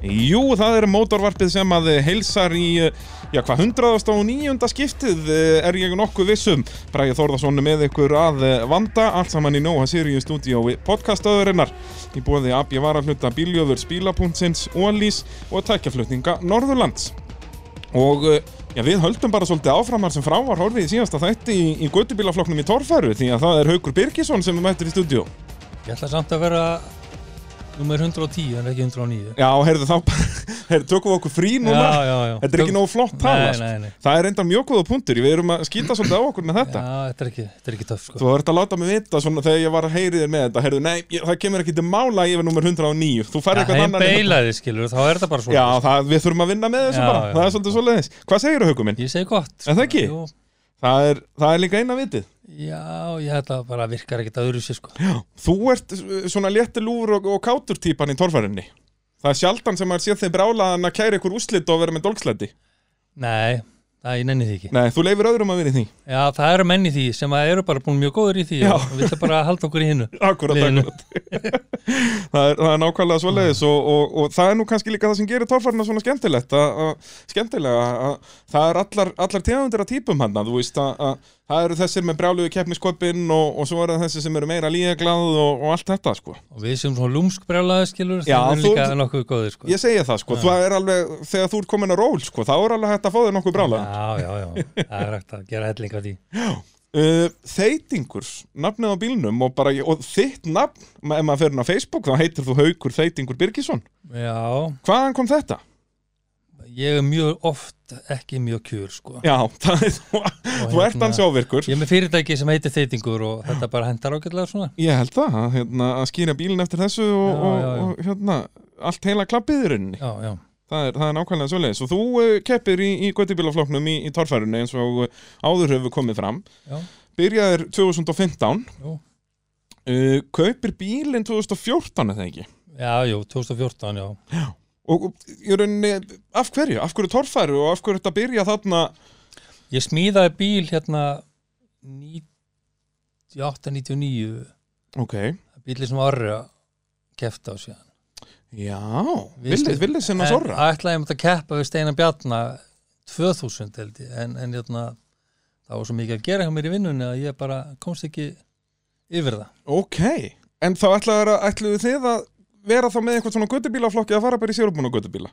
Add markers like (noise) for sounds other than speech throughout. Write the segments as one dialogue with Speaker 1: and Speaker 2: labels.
Speaker 1: það er mótorvarpið sem að heilsar í, eh, já hvað, hundraðast og níunda skiptið eh, er ég nokkuð vissum. Bræði Þórðarssonu með ykkur að eh, vanda, allt saman í Nóa Sirius stúdíói podcastöðurinnar. Í bóði AB varafluta bíljöfur spílapunktsins, Ólís og tækjaflutninga Norðurlands. Og eh, já, við höldum bara svolítið áfram þar sem frá var horfið í síðasta þætti í, í göttubílaflokknum í Torfæru því að það er Haukur Birgisson sem er mættur í stúdíó.
Speaker 2: Ég ætla samt að vera nummer 110 en ekki 109
Speaker 1: Já, heyrðu þá bara, (laughs) heyrðu, tökum við okkur frí núna.
Speaker 2: Já, já, já
Speaker 1: Þetta er ekki nógu flott tala.
Speaker 2: Nei,
Speaker 1: sko.
Speaker 2: nei, nei
Speaker 1: Það er enda mjög góða punktur, við erum að skýta svolítið á okkur með
Speaker 2: Já,
Speaker 1: þetta.
Speaker 2: þetta er ekki, þetta er ekki töff sko
Speaker 1: Þú verður að láta mig vita svona þegar ég var að heyri þér með þetta, heyrðu, nei, ég, það kemur ekki til mála yfir nummer 109, þú færði
Speaker 2: Það
Speaker 1: eitthvað
Speaker 2: heim
Speaker 1: annan. í-
Speaker 2: beilaði skilur, þá er þetta bara svona
Speaker 1: Já, það, við þurfum að vinna með þessu
Speaker 2: Já,
Speaker 1: bara,
Speaker 2: já.
Speaker 1: það er svolítið svolítið Hvað segir Haukur minn?
Speaker 2: Ég segi gott sko.
Speaker 1: Er það ekki?
Speaker 2: Jú,
Speaker 1: Það er, það er líka eina vitið.
Speaker 2: Já, ég held að bara virkar ekkert að öðru sér sko
Speaker 1: Þú ert uh, svona létti lúfur og, og kátur típan í torfærinni. Það er sjaldan sem maður sé þeim brálaðan að kæra ykkur úslit og vera með dolgslæti.
Speaker 2: Nei, það ég nenni því ekki
Speaker 1: Nei, þú leifir öðrum að vera í því.
Speaker 2: Já, það eru menn í því sem að eru bara búin mjög góður í því
Speaker 1: Já.
Speaker 2: og við ætlum bara að halda okkur í
Speaker 1: (laughs)
Speaker 2: hinnu
Speaker 1: Akkurat,
Speaker 2: Liðinu.
Speaker 1: akkurat. það, er, það er nákvæmlega svoleiðis og, og, og það er nú kannski líka það sem gerir torfærina svona skemmtilegt. A, a, skemmtilega, a, það er allar, allar tegundir að típum hann. Þú veist að að það eru þessir með brjálugu keppniskopin og, og svo eru það þessir sem eru meira líðaglað og, og allt þetta, sko.
Speaker 2: og við sem svona lúmsk brjálaði skilur
Speaker 1: Já,
Speaker 2: það er
Speaker 1: þú-
Speaker 2: líka nokkuð góður sko
Speaker 1: Ég segja það, sko. Það er alveg, þegar þú ert komin að ról, sko, þá er alveg hægt að fá þér nokkuð brjálaðan.
Speaker 2: Já, já, já, það er hægt að gera helling af því
Speaker 1: Uh, þeitingur, nafnið á bílnum og, bara, og þitt nafn, ma- ef maður fer inn á Facebook þá heitir þú Haukur Þeitingur Birgisson
Speaker 2: Já,
Speaker 1: hvaðan kom þetta?
Speaker 2: Ég er mjög oft ekki mjög kjur sko.
Speaker 1: Já, (laughs) það er, þú, þú ert hans ávirkur
Speaker 2: Ég er með fyrirtæki sem heitir þeytingur og þetta bara hendar ágætlega svona
Speaker 1: ég held það, að, hérna, að skýra bílinn eftir þessu og,
Speaker 2: Já, já, já.
Speaker 1: og, og hérna, allt heila klappiðurinn
Speaker 2: Já, já,
Speaker 1: það er, það er nákvæmlega svoleiðis og þú uh, keppir í, í göttibílafloknum í, í torfærunni eins og uh, áður hefur komið fram
Speaker 2: já,
Speaker 1: byrjaðir 2015
Speaker 2: jú,
Speaker 1: uh, kaupir bílinn 2014 eða ekki
Speaker 2: já, jú 2014 já.
Speaker 1: og og í rauninni, af hverju? Af hverju torfæru og af hverju þetta byrja þarna
Speaker 2: Ég smíðaði bíl hérna 98-99
Speaker 1: ok,
Speaker 2: bíli sem orri að kefta á síðan
Speaker 1: já
Speaker 2: Við-
Speaker 1: villið, villið sinna sorra
Speaker 2: ætlaði ég að keppa við Steinar Bjarna 2000 held ég en, en hérna, það var svo mikið að gera hjá mér í vinnunni að ég bara komst ekki yfir það
Speaker 1: ok, en þá ætlaðu, ætlaðu þið að vera þá með einhvern svona guttubílaflokki að fara bara í sérubúna guttubíla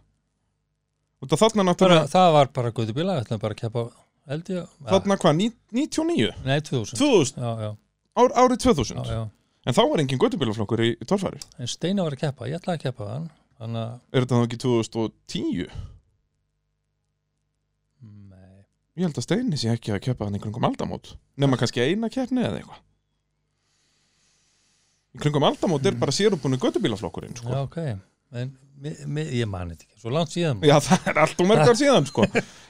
Speaker 1: og það þarna
Speaker 2: bara,
Speaker 1: náttúrulega
Speaker 2: það var bara guðu bíla, við ætlum bara að keppa held ég, ja,
Speaker 1: þarna hvað, ní- 99?
Speaker 2: nei 2000
Speaker 1: 2000,
Speaker 2: já, já,
Speaker 1: ár, árið
Speaker 2: já,
Speaker 1: 2000
Speaker 2: já.
Speaker 1: en þá var engin guttubílaflokkur í, í torfæru
Speaker 2: en Steina var að keppa, ég ætlaði að keppa við hann þannig að,
Speaker 1: er þetta þá ekki 2010?
Speaker 2: nei,
Speaker 1: Ég held að Steini sé ekki að keppa hann í kringum aldamót nema kannski eina keppni eða eitthvað Í kringum aldamót er bara sérubunni göttubílaflokkurinn sko.
Speaker 2: já, ok en mi, mi, ég mani þetta ekki, svo langt síðan
Speaker 1: Já, það er allt og mörgar síðan
Speaker 2: (laughs)
Speaker 1: sko.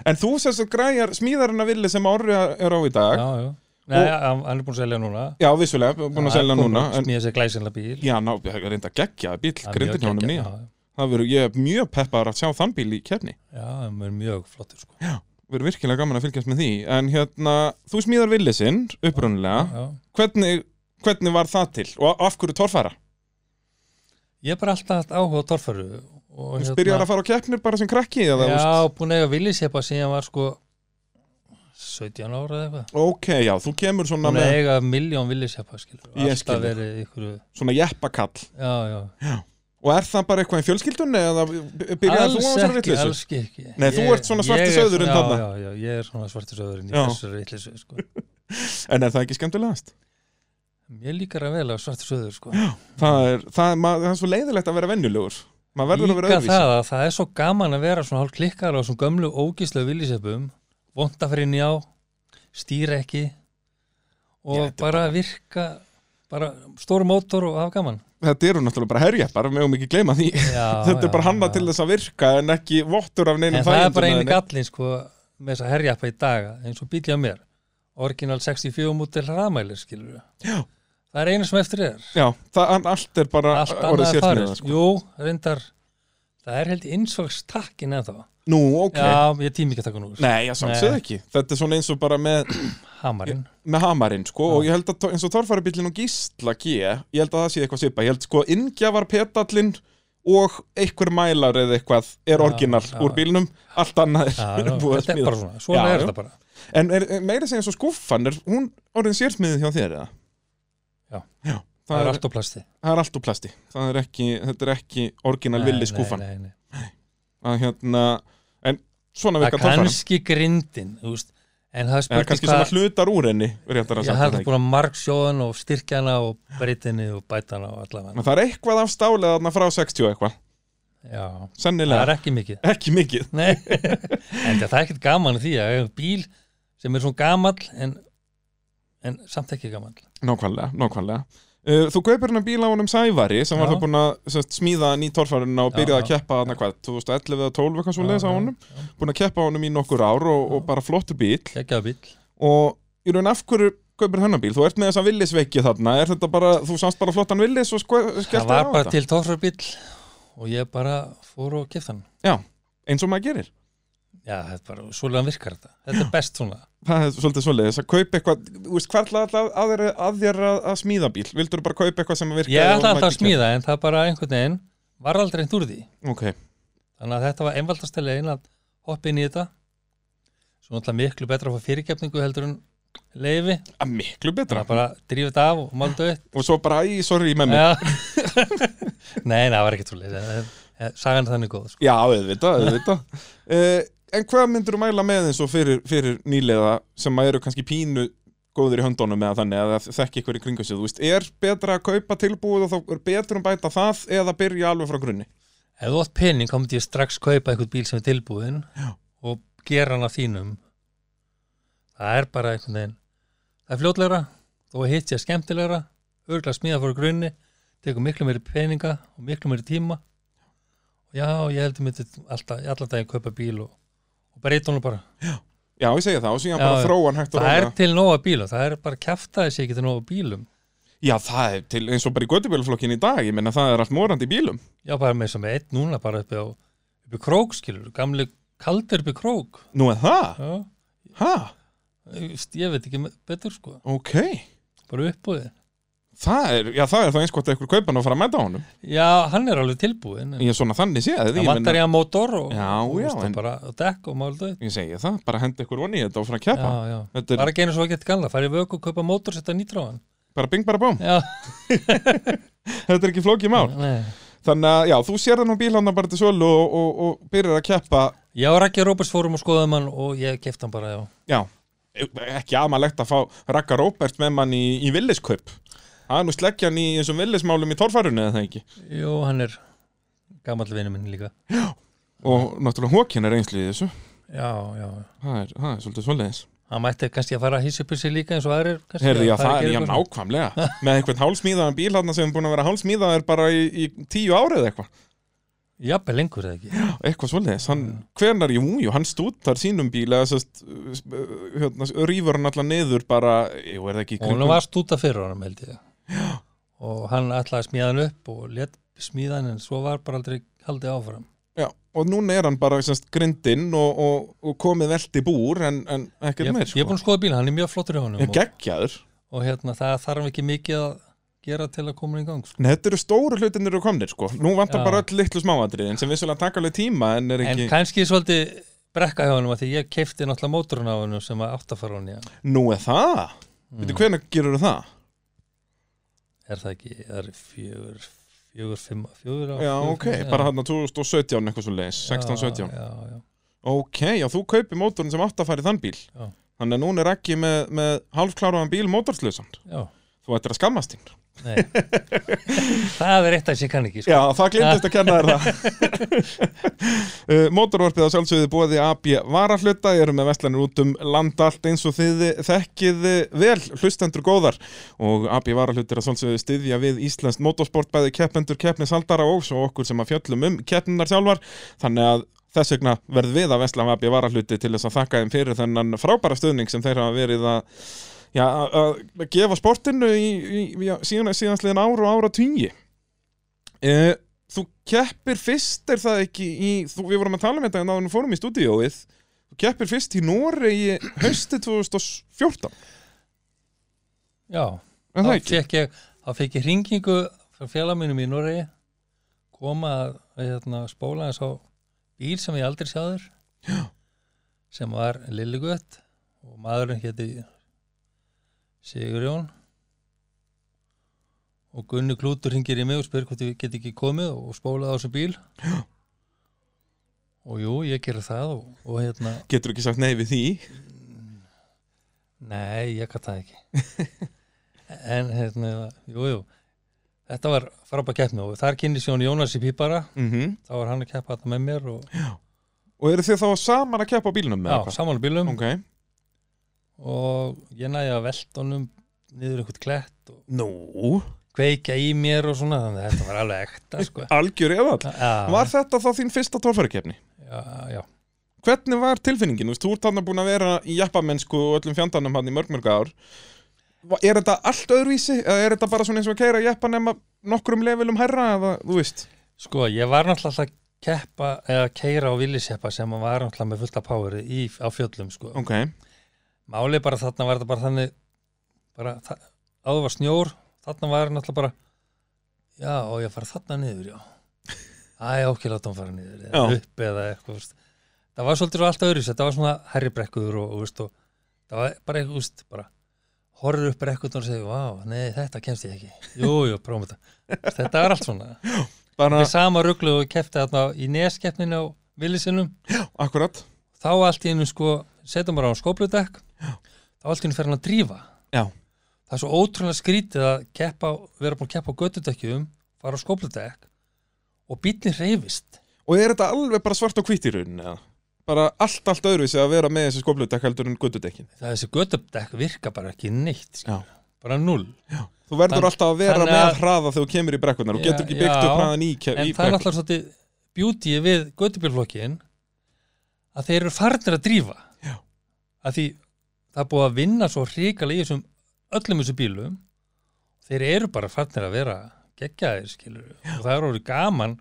Speaker 1: En þú sem svo græjar smíðarinn að villi sem Orri er á í dag Já,
Speaker 2: já, já, nei, hann hann er búin að selja núna
Speaker 1: vissulega, búin að selja núna en,
Speaker 2: smíða sér glæsinlega bíl
Speaker 1: Já, ná, það er reynda geggjaði bíl
Speaker 2: Það er
Speaker 1: grindin
Speaker 2: mjög
Speaker 1: hjá honum
Speaker 2: geggjað,
Speaker 1: nýja Það verður, ég er mjög peppar að sjá þann bíl í keppni
Speaker 2: já, já, hann er mjög flottur sko
Speaker 1: Verður virkilega gaman að fylgjast með því En hérna, þú smíðar villi sinn upprunalega
Speaker 2: já.
Speaker 1: hvernig, hvernig var það til og af hverju torfæra?
Speaker 2: ég er bara alltaf haft áhuga á torfaru og hérna-
Speaker 1: Þú byrjar að fara á keppnir bara sem krakki eða, þú veist?
Speaker 2: já, búin að eiga villiseppa síðan var sko 17 ára eða eitthvað
Speaker 1: Ok, já, þú kemur svona
Speaker 2: Hún er
Speaker 1: með
Speaker 2: eiga miljón villiseppa skilur
Speaker 1: Ég
Speaker 2: Alltaf
Speaker 1: skil.
Speaker 2: verið ykkur
Speaker 1: svona jeppakall
Speaker 2: Já, já
Speaker 1: og er það bara eitthvað í fjölskyldunni eða byrjar þú á þessari
Speaker 2: ekki,
Speaker 1: vitleysu?
Speaker 2: alls ekki
Speaker 1: Nei, þú
Speaker 2: Ég-
Speaker 1: ert svona svarti
Speaker 2: ég er-
Speaker 1: sauðurinn þarna.
Speaker 2: Já, já, já, ég er svona svarti söðurinn í
Speaker 1: Já.
Speaker 2: þessari vitleysu sko.
Speaker 1: En er það ekki skemmtilegast?
Speaker 2: Mér líkar að vel að svarti söður sko.
Speaker 1: Það er, það, er, maður, það er svo leiðilegt að vera venjulegur maður verður að vera
Speaker 2: Líka
Speaker 1: öðruvísi
Speaker 2: það að það er svo gaman að vera svona hálf klikkar á svona gömlu ógíslega villisepum vonda fyrir njá stýra ekki
Speaker 1: Já,
Speaker 2: og
Speaker 1: þetta er
Speaker 2: bara virka bara stóru mótor og hafa
Speaker 1: (laughs)
Speaker 2: gaman
Speaker 1: Þetta eru náttúrulega bara herjeppar, við höfum ekki gleyma því
Speaker 2: já,
Speaker 1: (laughs) Þetta er
Speaker 2: já,
Speaker 1: bara hanna
Speaker 2: já.
Speaker 1: til þess að virka en ekki vottur af neinum
Speaker 2: En það er bara einu
Speaker 1: þægindum eða neitt.
Speaker 2: gallin sko með þess að herjappa í daga eins og bílja mér Original 64 mútil hraðmælir skilur við
Speaker 1: Já.
Speaker 2: Það er einu sem eftir er
Speaker 1: Já, það, en allt er bara
Speaker 2: Allt
Speaker 1: orðið
Speaker 2: annað er
Speaker 1: sérsniðað,
Speaker 2: farið
Speaker 1: sko.
Speaker 2: Jú, reyndar Það er held innsvagstakkin eða þá
Speaker 1: Nú, ok
Speaker 2: Já, ég tími ekki að taka nú
Speaker 1: Nei, ég samsöð ekki Þetta er svona eins og bara með (laughs)
Speaker 2: Hamarinn
Speaker 1: með hamarinn sko og ég held að to- eins og torfærubillin og gísla G ég held að það sé eitthvað svipa, ég held sko inngjafar petallinn og einhver mælar eða eitthvað er
Speaker 2: Já,
Speaker 1: orginal
Speaker 2: já.
Speaker 1: úr bílnum allt annað
Speaker 2: Já,
Speaker 1: er
Speaker 2: já,
Speaker 1: (laughs) búið að
Speaker 2: þetta er
Speaker 1: smíða
Speaker 2: bara svona, svona
Speaker 1: Já,
Speaker 2: er
Speaker 1: já.
Speaker 2: þetta bara
Speaker 1: en er, er meira segja eins og skúffan er hún orðin sérsmiðið hjá þér eða?
Speaker 2: Já.
Speaker 1: það, er,
Speaker 2: allt á plasti
Speaker 1: það er allt úr plasti það er ekki, þetta er ekki orginal
Speaker 2: Nei,
Speaker 1: villi
Speaker 2: nei,
Speaker 1: skúffan
Speaker 2: nei, nei.
Speaker 1: að hérna en svona
Speaker 2: Það
Speaker 1: virkar töffarinn
Speaker 2: kannski grindin þú veist, en það er
Speaker 1: eða
Speaker 2: spurning
Speaker 1: kannski svona hlutar úr henni réttar að
Speaker 2: Já,
Speaker 1: sagt
Speaker 2: það
Speaker 1: er
Speaker 2: er
Speaker 1: það ekki
Speaker 2: búin að marksjóðan og styrkjana og breytinni og bætana og allavega
Speaker 1: En það er eitthvað af stálið þarna frá 60 og eitthvað
Speaker 2: Já, það
Speaker 1: sennilega,
Speaker 2: er ekki mikið
Speaker 1: ekki mikið
Speaker 2: Nei, en það er ekkert gaman að því að eiga bíl sem er svona gamall en, en samt ekki gamall
Speaker 1: Nákvæmlega, nákvæmlega Uh, Þú kaupir hennar bíl á honum Sævari sem var
Speaker 2: Já.
Speaker 1: það búin að sem sagt, smíða nýtt torfærin og
Speaker 2: Já,
Speaker 1: byrjaði að
Speaker 2: já.
Speaker 1: keppa hann hvað, 2011 eða 12 eitthvað svo leiðis á
Speaker 2: Já, já,
Speaker 1: honum
Speaker 2: já.
Speaker 1: búin að keppa á honum í nokkur ár og, og
Speaker 2: Já.
Speaker 1: bara flottur bíl
Speaker 2: Gekkjaðu bíl
Speaker 1: og í raun af hverju kaupir hennar bíl þú ert með þessa villisveiki þarna er þetta bara, þú samst bara flottan villis og sko-
Speaker 2: Það
Speaker 1: skellti
Speaker 2: var
Speaker 1: þér á
Speaker 2: bara
Speaker 1: þetta
Speaker 2: til tófrarbíl og ég bara fór og kefti hann
Speaker 1: eins og maður gerir
Speaker 2: Já, þetta er bara, svolega virkar þetta Þetta er best svona
Speaker 1: það er svolítið svoleiðis að kaupa eitthvað þú veist, hvað ætlaði alltaf að, þér- að þér að, að smíða bíl vildur bara kaupa eitthvað sem virkar
Speaker 2: Ég ætla alltaf að smíða en það er bara einhvern veginn var aldrei einn úr því
Speaker 1: okay.
Speaker 2: þannig að þetta var einfaldasta leiðin að hoppa inn í þetta svo náttúrulega miklu betra að fá fyrirgefningu heldur en leiði
Speaker 1: Að miklu betra
Speaker 2: bara, bara drífa þetta af og málta upp
Speaker 1: og svo bara, í, sorry, með mig
Speaker 2: Já. (laughs) Nei, það var ekkert svo leið Sagan er þannig góð sko.
Speaker 1: Já, auðvitað, (laughs) auðvitað. uh, en hvað myndur þú mæla með eins og fyrir, fyrir nýlega sem að eru kannski pínu góður í höndunum eða þannig að það þekki ykkur í kringu sig, þú veist, er betra að kaupa tilbúið og þá er betur um bæta það eða byrja alveg frá grunni?
Speaker 2: Ef þú átt pening kom ég strax kaupa eitthvað bíl sem er tilbúin
Speaker 1: Já.
Speaker 2: og gera hann að þínum Það er bara einhvern veginn Það er fljótlegra þó að hitt ég skemmtilegra örgulega smíða fyrir grunni tekur miklu meiri peninga og miklu meiri tíma Já, ég heldur myndi alltaf, alltaf daginn kaupa bíl og, og breyta hún bara
Speaker 1: Já, ég segja það og síðan
Speaker 2: Já,
Speaker 1: bara
Speaker 2: já.
Speaker 1: þróan hægt og
Speaker 2: Það er
Speaker 1: rólega.
Speaker 2: til nóga bíla, það er bara kjaftaði sér ekki til nóga bílum
Speaker 1: Já, það er til eins og bara í göttubílflokkin í dag, ég menna það er allt morandi í bílum.
Speaker 2: Já, bara með sem eitt núna bara uppi á uppi krók, skilur, gamli kaldur uppi krók
Speaker 1: Nú er það?
Speaker 2: Já,
Speaker 1: Ha?
Speaker 2: Just, ég veit ekki me- betur sko,
Speaker 1: Ok.
Speaker 2: bara uppbúið
Speaker 1: Það er, já, það er þá eins gott að ykkur kaupa hann og fara að mæta honum.
Speaker 2: Já, hann er alveg tilbúin en
Speaker 1: Ég er svona þannig séð,
Speaker 2: Það
Speaker 1: ég
Speaker 2: vantar
Speaker 1: menna,
Speaker 2: ég að mótor og,
Speaker 1: Já,
Speaker 2: og,
Speaker 1: já,
Speaker 2: veist,
Speaker 1: en-
Speaker 2: en... bara, og dekk og máldu
Speaker 1: ég segja það, bara henda ykkur vonni í þetta og fara að
Speaker 2: Já,
Speaker 1: keppa.
Speaker 2: já,
Speaker 1: Þetta er
Speaker 2: bara genið svo að geta galla farið vöku og kaupa mótor, setja nýtra á hann
Speaker 1: bara bing bara bám.
Speaker 2: Já,
Speaker 1: Þetta er ekki flókið mál.
Speaker 2: nei
Speaker 1: Þannig að já, þú sér þannig bílhanna bara til sölu og, og, og byrjar að keppa
Speaker 2: Já, Raggi Róbers fórum og skoðum hann og ég kefti hann bara, já
Speaker 1: já, ekki amalegt að fá Ragga Róbert með mann í, í villiskaup Það er nú sleggjan í eins og villismálum í torfærunni eða það ekki
Speaker 2: Jú, hann er gamall vinur minn líka
Speaker 1: og náttúrulega hókinn er einslu í þessu
Speaker 2: Já, já,
Speaker 1: það er, það er svolítið svoleiðis
Speaker 2: hann mætti kannski að fara að hýsa upp í sig líka eins og aðrir kannski,
Speaker 1: Herði, já,
Speaker 2: að fara
Speaker 1: það
Speaker 2: að
Speaker 1: er
Speaker 2: gera
Speaker 1: já
Speaker 2: eitthvað svona.
Speaker 1: nákvæmlega með einhvern hálsmíðaðan bílhanna sem er búin að vera hálsmíðaður bara í, í tíu árið eitthvað
Speaker 2: Jafnvel lengur eða ekki
Speaker 1: eitthvað svoleiðis, hann, hvenar, jú, jú, hann stúttar sínum bíl eða sérst hérna, rýfur hann allan niður bara, jú, er það ekki í
Speaker 2: og hún var stúta fyrir honum held ég og hann ætlaði að smíða hann upp og let smíða hann en svo var bara aldrei haldið áfram
Speaker 1: Já, og núna er hann bara semst, grindinn og, og, og komið velt í búr en, en ekkert
Speaker 2: ég,
Speaker 1: meir
Speaker 2: ég er
Speaker 1: sko.
Speaker 2: búin að skoða bíl, hann er mjög flottur í honum
Speaker 1: Ég
Speaker 2: og,
Speaker 1: geggjaður
Speaker 2: og hérna, það þarf ekki mikið að gera til að koma hann í gang sko.
Speaker 1: Nei, þetta eru stóru hlutinir eru komnir sko Nú vantar
Speaker 2: Já.
Speaker 1: bara öll litlu smáatriðin sem vissulega taka alveg tíma en er
Speaker 2: en
Speaker 1: ekki
Speaker 2: kannski svolítið brekka hjá honum að því ég kefti náttúrulega mótorun á honum sem að átt að fara hann í hann
Speaker 1: Nú er það mm. Veitu, hvenær gerur það?
Speaker 2: er það ekki, það er fjögur fjögur, fimm, fjögur á
Speaker 1: Já, ok, bara hann að 2017 eitthvað svo leis 16-17
Speaker 2: já, já, já.
Speaker 1: Ok, já, þú kaupir mótorinn sem átt að fara í þann bíl
Speaker 2: Já.
Speaker 1: Þannig að núna er ekki með, með hálfkláraðan bíl mótorslösan
Speaker 2: já.
Speaker 1: Þú ættir að skammast þín
Speaker 2: Nei. (laughs) það er eitt að ég kann ekki sko.
Speaker 1: Já, það glindist að kenna þér það (laughs) Uh, Mótorvarpið á sjálfsögðu bóði AB varahluta, ég eru með vestlanir út um land allt eins og þið þekkið vel hlustendur góðar og AB varahlutir að sjálfsögðu styðja við Íslands motorsport bæði keppendur, keppnishaldara og svo okkur sem að fjöllum um keppninar sjálfar þannig að þess vegna verð við að vesla AB varahluti til þess að þakka þeim fyrir þennan frábæra stuðning sem þeir hafa verið að Já, að að gefa sportinu í, í, í já, síðan, síðansliðin ár og ára tvíi. Uh, þú keppir fyrst er það ekki í, þú, við vorum að tala um þetta en áður en við fórum í stúdíóið þú keppir fyrst í Noregi hausti 2014 en það
Speaker 2: þá
Speaker 1: ekki
Speaker 2: fekk ég, þá fekk ég hringingu frá félag mínum í Noregi koma að, að hérna, spóla eins á bíl sem ég aldrei sjáður Já. sem var Lilligött og maðurinn héti Sigurjón og Gunni Klútur hringir í mig og spyr hvort ég get ekki komið og spólað á þessu bíl Já. og jú, ég gerði það og, og hérna
Speaker 1: Getur ekki sagt nei við því
Speaker 2: Nei, ég gæti það ekki En hérna, jú, jú Þetta var frábæð keppni og þar kynni sjón Jónas í Pípara
Speaker 1: mm
Speaker 2: þá var hann að keppa þetta með mér og,
Speaker 1: Og eru þið þá saman að keppa á bílnum
Speaker 2: já,
Speaker 1: með eitthvað?
Speaker 2: saman á bílum
Speaker 1: Ok
Speaker 2: og ég næja að velta honum niður einhvern klett og
Speaker 1: Nú,
Speaker 2: kveikja í mér og svona þannig að þetta var alveg ekta
Speaker 1: (laughs)
Speaker 2: sko.
Speaker 1: algjör eðall
Speaker 2: já,
Speaker 1: Var þetta þá þín fyrsta tórfærikeppni?
Speaker 2: já, já,
Speaker 1: Hvernig var tilfinningin? Þú veist, þú ert þarna búin að vera í jappamennsku og öllum fjandarnum hann í mörg mörg ár Va- Er þetta allt öðruvísi? Eða er þetta bara svona eins og að keira jappan nema nokkrum levelum herra eða, þú veist?
Speaker 2: Sko, ég var náttúrulega alltaf að keppa eða keira á villisjeppa sem var náttúrulega með fullta poweri í, á fjöllum sko.
Speaker 1: Ok,
Speaker 2: Málið bara þarna var þetta bara þannig bara þa- áður var snjór þarna var náttúrulega bara já og ég að fara þarna niður já Æ, ok, láta hann fara niður eða
Speaker 1: Já.
Speaker 2: upp eða eitthvað veist. það var svolítið svo allt öðru þetta var svona herribrekkur og, og, veist, og það var bara eitthvað veist, bara horfður upp brekkunar og segir vá, nei, þetta kemst ég ekki jú, jú, prófum þetta Veist, þetta var allt svona
Speaker 1: bara
Speaker 2: það er sama ruglu og ég kefti þarna í neskeppninu á villisinum
Speaker 1: akkurat
Speaker 2: þá allt í einu sko setjum bara á skópludekk þá allt í einu fer hann að drífa
Speaker 1: Já.
Speaker 2: það er svo ótrúlega skrítið að keppa, vera búin að keppa á göttudekkjum fara á skópludekk og bílni reyfist
Speaker 1: Og er þetta alveg bara svart og hvítt í rauninni eða? Bara allt, allt öðruvísi að vera með þessi skoblutekk heldur en guttudekkin
Speaker 2: það þessi göttudekk virka bara ekki neitt
Speaker 1: Já.
Speaker 2: skilur. bara null
Speaker 1: Þú verður
Speaker 2: Þann-
Speaker 1: alltaf að vera
Speaker 2: þannig
Speaker 1: með
Speaker 2: að-
Speaker 1: hraða þegar þú kemur í brekkunar og
Speaker 2: Já,
Speaker 1: getur ekki byggt
Speaker 2: já,
Speaker 1: upp hraðan í, ke-
Speaker 2: en
Speaker 1: í
Speaker 2: það er
Speaker 1: brekkunar
Speaker 2: náttúrulega svolítið beauty við göttubílflokkin að þeir eru farnir að drífa
Speaker 1: Já.
Speaker 2: að því það er búið að vinna svo hrikalega í þessum öllum þessum bílum þeir eru bara farnir að vera geggjaðir skilur og það eru orðið gaman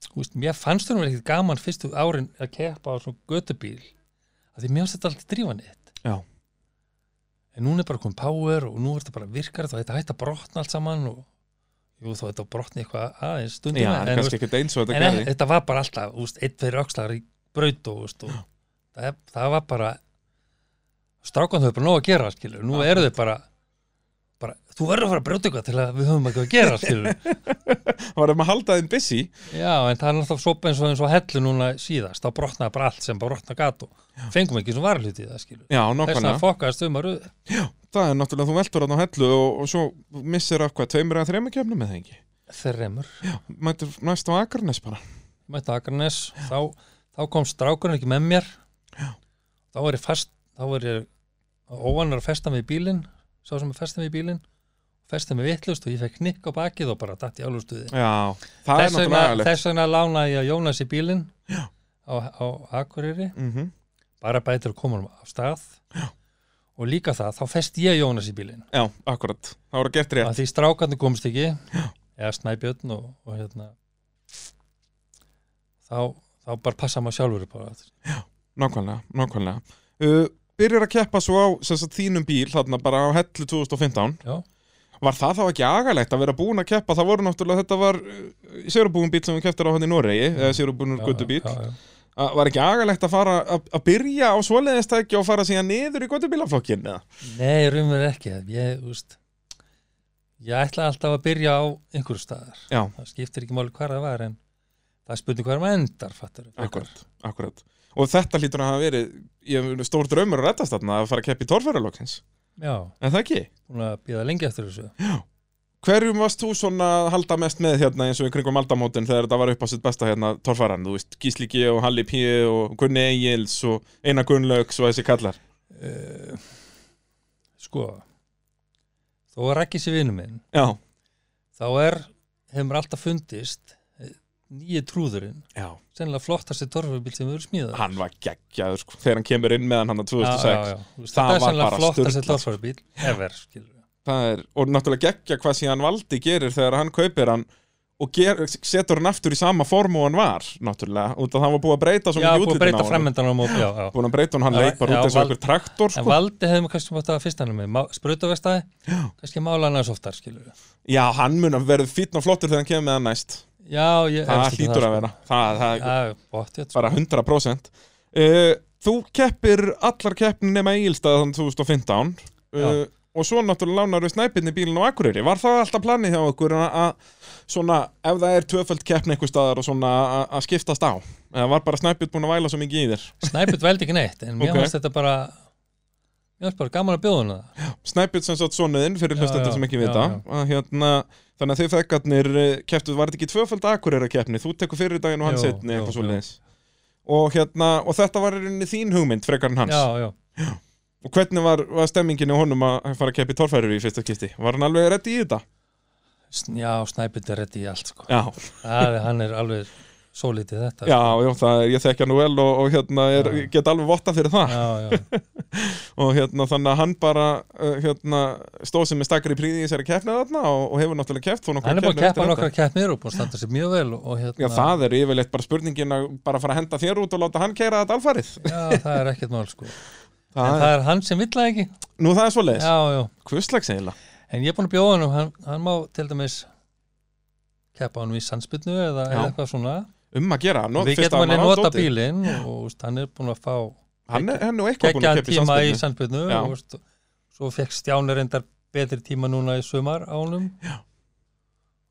Speaker 2: þú veist, mér fannst þurfum ekkert gaman fyrstu árin að keppa á svona göttubíl að því mér fannst þetta alltaf drífa neitt
Speaker 1: Já.
Speaker 2: en núna er bara komið power og nú er þetta bara virkar þá er þetta hægt að brotna allt saman og jú þá er þetta brotna eitthvað aðeins stundum
Speaker 1: Já, en
Speaker 2: en,
Speaker 1: kannski ekkert eins og
Speaker 2: en,
Speaker 1: þetta
Speaker 2: en
Speaker 1: gerði
Speaker 2: e- þetta var bara alltaf úst, einn fyrir öxlar í braut og, úst, og það, er- það var bara strákan þau bara nóg að gera skilur, nú eru þau bara bara, þú verður að fara að brjóta eitthvað til að við höfum eitthvað að
Speaker 1: (laughs)
Speaker 2: gera skilur
Speaker 1: Það var um að halda þeim busy
Speaker 2: já, en það er náttúrulega sopa eins og eins og hellu núna síðast, þá brotnaði bara allt sem bara brotna gat og fengum ekki sem varluti það skilur
Speaker 1: Já,
Speaker 2: þess
Speaker 1: nokkvæmlega
Speaker 2: að fokkaðast um að röðu
Speaker 1: Það er náttúrulega þú veltur hann á hellu og, og svo missir af hvað, tveimur eða þreimur kemnum með það ekki
Speaker 2: þremur
Speaker 1: Mættur næst á Akarnes bara
Speaker 2: mætti Akarnes þá, þá kom strákurinn ekki með mér þá var ég fast þá var ég óvanar að festa mig í bílinn sá sem að festa mig í bílinn festa mig vittlust og ég fekk nikk á bakið og bara datt í álustuði
Speaker 1: Já, það er
Speaker 2: þess vegna,
Speaker 1: náttúrulega agalegt
Speaker 2: þess vegna lánaði ég að Jónas í bílinn á, á Akureyri
Speaker 1: mm
Speaker 2: bara bætir að koma hann af stað Já. og líka það, þá festi ég Jónas í bílinn
Speaker 1: Já, akkurat, það voru gert rétt
Speaker 2: að því strákarnir komst ekki eða snæbjörn og, og hérna þá, þá bara passa maður sjálfur upp á það
Speaker 1: Nákvæmlega, nákvæmlega uh, Byrjar að keppa svo á sem sagt, þínum bíl þarna bara á hellu 2015
Speaker 2: Já.
Speaker 1: Var það þá ekki agalegt að vera búin að keppa? Það voru náttúrulega, þetta var uh, sérubúin bíl sem við kepptir á hann í Noregi eða sérubúin
Speaker 2: Mm. Já,
Speaker 1: göttubíl
Speaker 2: já, já.
Speaker 1: Var ekki agalegt að fara að að byrja á svoleiðistækja og fara síðan niður í göttubílaflokkin? eða?
Speaker 2: Nei, rumur ekki ég, úst, ég ætla alltaf að byrja á einhverju staðar
Speaker 1: Já.
Speaker 2: það skiptir ekki máli hvar það var en það er spurning hvar maður endar fattar
Speaker 1: Akkurat, akkurat Og þetta hlýtur að hafa verið ég, meina, stór draumur að rettast þarna að fara að keppa í torfæraloksins
Speaker 2: já,
Speaker 1: En það ekki?
Speaker 2: búin að býða lengi eftir þessu
Speaker 1: Hverjum varst þú svona að halda mest með hérna eins og í kringum aldamótin þegar þetta var upp á sitt besta hérna torfæran, þú veist, Gísli G og Halli P og Gunni Egils og Einar Gunnlaugs og þessi kallar
Speaker 2: uh, sko þó er ekki sér vinnu minn
Speaker 1: Já,
Speaker 2: þá er, hefur mér alltaf fundist nýju trúðurinn
Speaker 1: já,
Speaker 2: sennilega flottasti torfubíl sem hefur smíðað
Speaker 1: hann var geggjaður sko, þegar hann kemur inn með hann hann 2006
Speaker 2: já, já, já. Þú veist,
Speaker 1: Það
Speaker 2: þetta er
Speaker 1: var
Speaker 2: sennilega
Speaker 1: bara
Speaker 2: flottasti
Speaker 1: sturlað,
Speaker 2: torfubíl ever skilur
Speaker 1: Það er, og náttúrulega geggja hvað síðan Valdi gerir þegar hann kaupir hann og ger, setur hann aftur í sama form og hann var náttúrulega, út að hann var búið að breyta svo
Speaker 2: Já,
Speaker 1: mikið
Speaker 2: búið að
Speaker 1: útlitinu á
Speaker 2: breyta
Speaker 1: honum.
Speaker 2: framöndan á móti, já, já.
Speaker 1: búin að breyta hann, hann
Speaker 2: Já,
Speaker 1: leit bara
Speaker 2: já,
Speaker 1: út eins og
Speaker 2: Val-
Speaker 1: einhver traktor
Speaker 2: En
Speaker 1: sko.
Speaker 2: valdi hefðum við kannski mátt að fyrst hann með sprutavestæði, kannski mála hann aðeins oftar, skilur við.
Speaker 1: já, hann mun að verða fítn og flottur þegar hann kemur með hann næst
Speaker 2: Já, ég
Speaker 1: það
Speaker 2: efast ekki
Speaker 1: hlýtur
Speaker 2: sko.
Speaker 1: að vera, það, það er
Speaker 2: Já, bótt, ég
Speaker 1: bara 100% uh, þú keppir allar keppnin nema Egilstað þannig 2015 uh,
Speaker 2: Já.
Speaker 1: og svo náttúrulega lánar við snæpinni bílinn á Akureyri var það alltaf planið hjá okkur að, að svona, ef það er tvöföld keppni einhver staðar og svona að- að skiptast á eða var bara snæpinn búin að væla svo mikið í þér
Speaker 2: Snæpjörn veldi ekki neitt, en mér
Speaker 1: Ok.
Speaker 2: fannst þetta bara mér fannst bara gaman að bjóða hana það.
Speaker 1: Snæbjörn sem satt sonuðinn fyrir
Speaker 2: Já,
Speaker 1: hlustendur
Speaker 2: já,
Speaker 1: sem ekki
Speaker 2: já,
Speaker 1: vita
Speaker 2: já.
Speaker 1: að, hérna, þannig að þið fekkarnir keftuð, var þetta ekki tvöfald akureyra keppni þú tekur fyrir daginn og hann
Speaker 2: Jú,
Speaker 1: setni
Speaker 2: jú,
Speaker 1: eitthvað
Speaker 2: jú.
Speaker 1: svo og, hérna, og þetta var í rauninni þín hugmynd frekar en hans
Speaker 2: Já, já,
Speaker 1: og hvernig var, var stemmingin á honum að fara að keppi torfærir í fyrsta kisti var hann alveg reddi í þetta?
Speaker 2: Sn- já Snæpjörn er rétt í allt sko.
Speaker 1: Já,
Speaker 2: það, er- Hann er alveg sólítið þetta
Speaker 1: já, já það er, ég þekki hann nú vel og, og hérna er,
Speaker 2: sko- Já.
Speaker 1: get alveg votta fyrir það
Speaker 2: já, já,
Speaker 1: og hérna þannig að hann bara uh, hérna, stóð sem er stakkar í príði í þessari keppni þarna og, og hefur náttúrulega keppt þó nokkrar
Speaker 2: Hann er búin að
Speaker 1: keppnir eftir
Speaker 2: keppa
Speaker 1: þetta.
Speaker 2: nokkra keppnir og búin að standa sér mjög vel og, og hérna,
Speaker 1: Já, það er yfirleitt bara spurningin að bara fara að henda þér út og láta hann keira þetta alfarið.
Speaker 2: já, það er ekkert mál sko. En
Speaker 1: Það
Speaker 2: það
Speaker 1: er,
Speaker 2: er hann sem vill það ekki
Speaker 1: nú það er svo leiðis.
Speaker 2: Já, já,
Speaker 1: Hvurslags eiginlega?
Speaker 2: en ég er búin að bjóða hann og hann, hann má til dæmis keppa hann í sandspyrnu eða,
Speaker 1: Já.
Speaker 2: eða eitthvað svona
Speaker 1: Um að gera. Nó,
Speaker 2: Við
Speaker 1: fyrst að
Speaker 2: getum hann að
Speaker 1: á
Speaker 2: nota
Speaker 1: dótið.
Speaker 2: bílinn og úst, hann er búin að fá
Speaker 1: Hann er, hann er nú eitthvað búin að
Speaker 2: geggjaðan
Speaker 1: keppa í
Speaker 2: tíma í
Speaker 1: samspilinu.
Speaker 2: sandbyrnu
Speaker 1: Já.
Speaker 2: og veist, svo fekk Stjáni reyndar betri tíma núna í sumar ánum Já.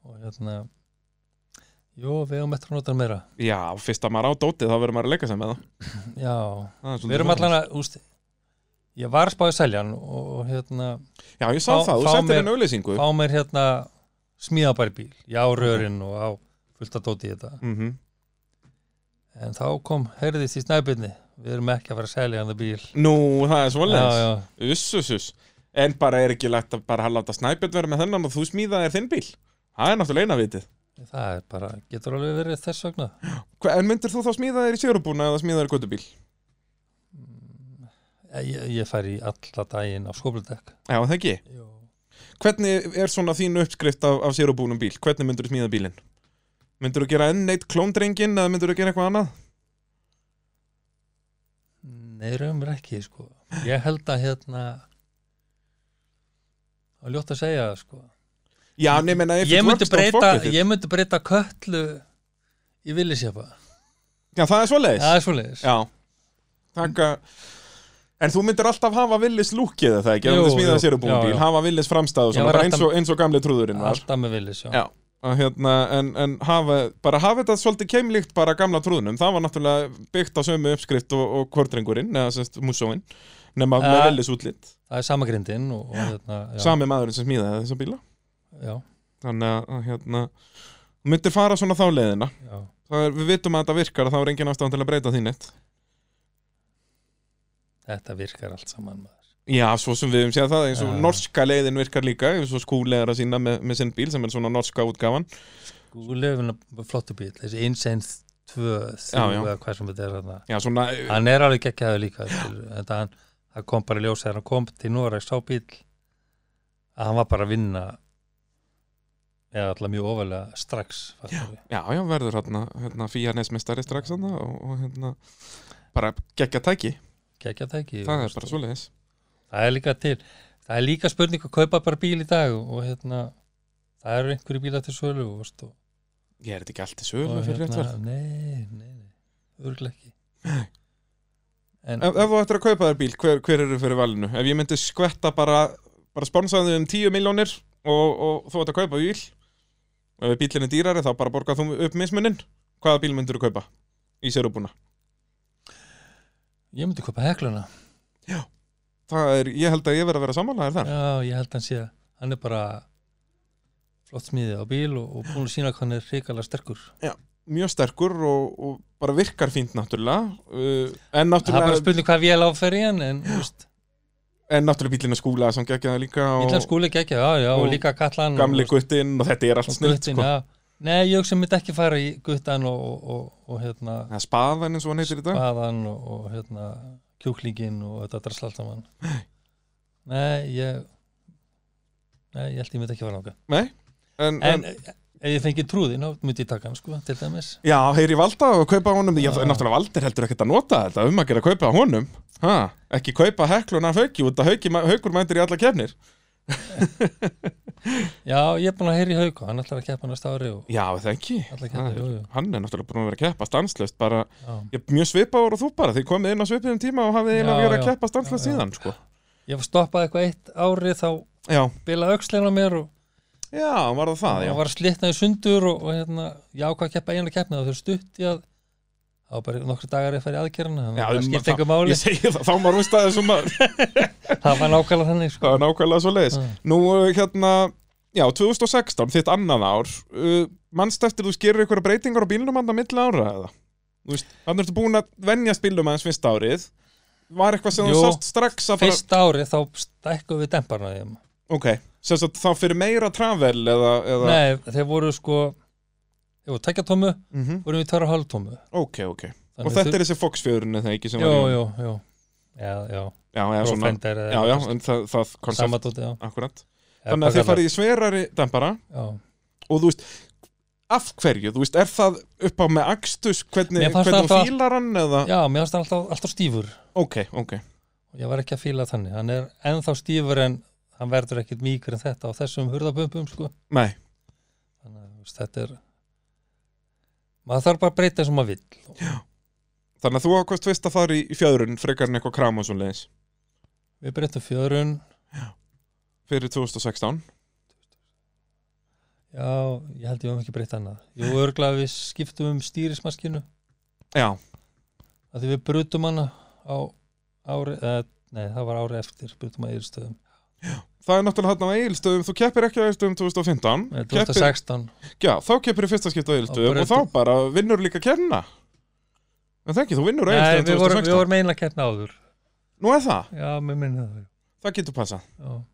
Speaker 2: og hérna jú, við erum eftir að nota hann meira
Speaker 1: Já, fyrst að maður á dótið þá verður maður að leika sem með það.
Speaker 2: Já,
Speaker 1: það er svolítið
Speaker 2: við erum
Speaker 1: svoleiðis.
Speaker 2: allan að úst, ég var spáðið seljan og, og hérna,
Speaker 1: Já, ég sá
Speaker 2: Fá-
Speaker 1: það. Þú
Speaker 2: fá
Speaker 1: sendir
Speaker 2: mér-
Speaker 1: henni auðlýsingu.
Speaker 2: fá mér hérna smíðabæri bíl, já rörin og á fullt að dóti í þetta
Speaker 1: Mhm.
Speaker 2: en þá kom, heyrðist í snæbyrni við erum ekki að fara að selja hann það bíl
Speaker 1: Nú, það er
Speaker 2: já,
Speaker 1: svolítið.
Speaker 2: já,
Speaker 1: Uss, uss, uss. En bara er ekki lægt að bara láta snæpjöld vera með þennan og þú smíða þér þinn bíl. Það er náttúrulega eina vitið.
Speaker 2: það er bara getur alveg verið þess vegna
Speaker 1: Hva- En myndir þú þá smíða þér í sérubúna eða smíða þér í göttubíl?
Speaker 2: Eh, ég, ég fær í alla daginn á skópludekk
Speaker 1: Já, það ekki. Hvernig er svona þín uppskrift af, af sér og búnum bíl? Hvernig myndur þú smíða bílinn? Myndur þú gera enn eitt klóndrengin eða myndur þú gera eitthvað annað?
Speaker 2: Nei, raumur ekki, sko. Ég held að hérna að ljótt að segja, það, sko.
Speaker 1: Já, nefnir að
Speaker 2: Ég myndi, breyta, ég myndi breyta köllu í villisjöpa.
Speaker 1: Já, það er svoleiðis.
Speaker 2: Það er svoleiðis.
Speaker 1: Já. Takka... En þú myndir alltaf hafa villis lúkið eða það ekki? Ef
Speaker 2: Jú,
Speaker 1: þú myndir smíða
Speaker 2: jú,
Speaker 1: sér og búnum
Speaker 2: já,
Speaker 1: bíl,
Speaker 2: já.
Speaker 1: hafa villis framstæð og
Speaker 2: Ég
Speaker 1: svona,
Speaker 2: var
Speaker 1: bara
Speaker 2: alltaf-
Speaker 1: eins og, eins og gamli trúðurinn var.
Speaker 2: Alltaf með villis, já.
Speaker 1: Já. Að Hérna, en, en hafa, bara hafa þetta svolítið keimlíkt bara gamla trúðunum. Það var náttúrulega byggt á sömu uppskrift og, og kvördrengurinn, eða sérst músóin, nema með
Speaker 2: Ja.
Speaker 1: villis útlitt.
Speaker 2: Það er samagrindin og, og hérna, já.
Speaker 1: Sami maðurinn sem smíðaði þessa bíla.
Speaker 2: já,
Speaker 1: þannig að- að hérna þú myndir fara svona þá leiðina
Speaker 2: já.
Speaker 1: Það er, við vitum að þetta virkar og þá er engin ástæðan til að breyta þín eitt
Speaker 2: Þetta virkar allt saman, maður.
Speaker 1: já, svo sem við hefum séð það eins og
Speaker 2: Já.
Speaker 1: norska leiðin virkar líka eins og skúli er að sína með, með sinn bíl sem er svona norska útgáfan
Speaker 2: Gúlefin er flottu bíl, þessi insenst tvö,
Speaker 1: Já, já.
Speaker 2: þrjú, eða hvað sem þetta er þarna.
Speaker 1: já, svona,
Speaker 2: hann er alveg geggjaður líka skilur, þetta hann, það kom bara í ljós þegar hann kom til Noreg sá bíl að hann var bara að vinna eða alltaf mjög ofalega strax fattar við.
Speaker 1: já, já, verður hérna, hérna fíjar nesmestari strax þarna og, og hérna bara geggja tæki,
Speaker 2: geggjað tæki
Speaker 1: það
Speaker 2: og-
Speaker 1: er bara svoleiðis
Speaker 2: það er líka til, það er líka spurning að kaupa bara bíl í dag og, og hérna það eru einhverju bílar til sölu og, veist, og,
Speaker 1: ég er þetta ekki allt í hérna sölu
Speaker 2: og hérna,
Speaker 1: fyrir rétt verð
Speaker 2: nei, nei, nei, örgulega ekki en
Speaker 1: ef, ef þú ættir að kaupa þér bíl, hver, hver eru fyrir valinu ef ég myndi skvetta bara bara sponsaði um 10 miljónir og, og þú ættir að kaupa bíl ef bílinn er dýrari þá bara borgað þú upp mismunin hvaða bíl myndir þú kaupa í sérubúna
Speaker 2: ég myndi kaupa hekluna
Speaker 1: það er, ég held að ég verð að vera samanlæðir þar
Speaker 2: Já, ég held að hann sé að hann er bara flott smíðið á bíl og, og búin að sína hvað hann er hrikalega sterkur
Speaker 1: mjög sterkur og, og bara virkar fínt náttúrulega uh, en
Speaker 2: Það er bara
Speaker 1: náttúrulega,
Speaker 2: spurning hvað vél áferði hann en úst,
Speaker 1: en náttúrulega bílinn er skúla sem geggja það líka
Speaker 2: bílan
Speaker 1: og
Speaker 2: skúli ekki, já, já, og
Speaker 1: og
Speaker 2: líka kallan
Speaker 1: gamli
Speaker 2: og,
Speaker 1: guttinn og þetta er allt
Speaker 2: og
Speaker 1: snilt
Speaker 2: guttin,
Speaker 1: sko.
Speaker 2: já Nei, ég sem myndi ekki fara í guttan og, og, og, og hérna
Speaker 1: Það er spaðan eins og hann heitir í dag
Speaker 2: baðan og, og hérna kjúklingin og þetta drasl allt saman Nei, ég Nei, ég held ég myndi ekki fara náka
Speaker 1: Nei, en, en,
Speaker 2: En ef ég fengi trúðin, þá myndi ég taka hann sko, til dæmis
Speaker 1: Já, heyri valda og kaupa honum Já,
Speaker 2: Ah.
Speaker 1: náttúrulega valdir heldur ekkert að nota þetta um að gera að kaupa honum ha, Ekki kaupa hekluna af hauki út að hauki, haukur mændir í alla kefnir
Speaker 2: já, ég er búin að heyra í hauka, hann ætlar að keppa næsta ári og
Speaker 1: Já, það ekki
Speaker 2: Alla keppnir,
Speaker 1: Það er-
Speaker 2: jú, jú.
Speaker 1: Hann er náttúrulega búin að vera að keppa stanslöst bara,
Speaker 2: já.
Speaker 1: ég, mjög svipaður og þú bara þið komið inn á svipiðum tíma og hafið eiginlega
Speaker 2: Já,
Speaker 1: verið að
Speaker 2: já.
Speaker 1: keppa stanslöst
Speaker 2: Já, já.
Speaker 1: síðan sko.
Speaker 2: ég stoppaði eitthvað eitt ári þá
Speaker 1: Já,
Speaker 2: bila öxleina mér og
Speaker 1: já, var það það, Ah, já
Speaker 2: og var slitnaði sundur og, og hérna, ég ákvað að keppa einlega keppni þá þau stutt í að þá var bara nokkru dagar ég færi aðgerðina þannig
Speaker 1: Já,
Speaker 2: að það
Speaker 1: um-
Speaker 2: skipti eitthvað máli
Speaker 1: Ég segi það, þá maður veist aðeins um að
Speaker 2: það var nákvæmlega þannig sko.
Speaker 1: það er nákvæmlega svo leiðis
Speaker 2: Mm.
Speaker 1: Nú, uh, hérna, já, 2016, þitt annan ár uh, Manst eftir þú skerir einhverja breytingar á bílnum hann að milli ára eða? Þú veist, hann ertu búin að venjast bílnum aðeins fyrsta árið Var eitthvað sem þú
Speaker 2: Jú,
Speaker 1: sást strax að fara
Speaker 2: fyrst ári þá stækkuð við demparna þeim
Speaker 1: Ok, sem sagt þá fyrir meira travel eða, eða...
Speaker 2: nei, þeir voru sko þeir voru tekja tómu,
Speaker 1: Mm
Speaker 2: vorum við tverra hálf tómu
Speaker 1: Ok, ok Og þetta er þessi Fox-fjöðurinn eða ekki sem
Speaker 2: já,
Speaker 1: var í-
Speaker 2: já, já, já, já,
Speaker 1: Já, eða
Speaker 2: Frá
Speaker 1: svona
Speaker 2: Fender eða
Speaker 1: Já, já,
Speaker 2: eitthvað,
Speaker 1: en það, það koncept,
Speaker 2: sama dóti já.
Speaker 1: akkurat Þannig
Speaker 2: Eða
Speaker 1: að þið
Speaker 2: bakkallar.
Speaker 1: farið í sverari dempara
Speaker 2: Já.
Speaker 1: og þú veist af hverju, þú veist, er það upp á með akstus, hvernig,
Speaker 2: Mér fannst
Speaker 1: hvernig
Speaker 2: það-
Speaker 1: hún fílar hann eða,
Speaker 2: já, mér varst alltaf, alltaf stífur
Speaker 1: ok, ok
Speaker 2: og ég var ekki að fíla þannig hann er ennþá stífur en hann verður ekkit mýkur en þetta á þessum hurðabömpum sko.
Speaker 1: nei,
Speaker 2: þannig að þú veist, þetta er maður þarf bara að breyta eins og maður vill og
Speaker 1: þannig að þú ákvæmst fyrst að fara í, í fjöðrun frekar en eitthvað kram og svo leiðis
Speaker 2: við breytum fjörun
Speaker 1: fyrir 2016,
Speaker 2: já, ég held ég um ekki breyta annað jú, örgla við skiptum um stýrismaskinu
Speaker 1: já,
Speaker 2: að því við brutum hana á ári, eða, nei, það var ári eftir brutum að yfirstöðum,
Speaker 1: það er náttúrulega hann á eilstöðum, þú keppir ekki á eilstöðum 2015,
Speaker 2: Nei,
Speaker 1: keppir,
Speaker 2: 2016
Speaker 1: já, þá keppir í fyrsta skipt á eilstöðum
Speaker 2: bara
Speaker 1: og þá
Speaker 2: eftir-
Speaker 1: bara vinnur líka kenna en það ekki, þú vinnur á
Speaker 2: nei, við
Speaker 1: eilstöðum
Speaker 2: vorum
Speaker 1: 2016
Speaker 2: við vorum einlega keppna áður
Speaker 1: nú er það,
Speaker 2: já, mér minna það
Speaker 1: það getur passað
Speaker 2: já.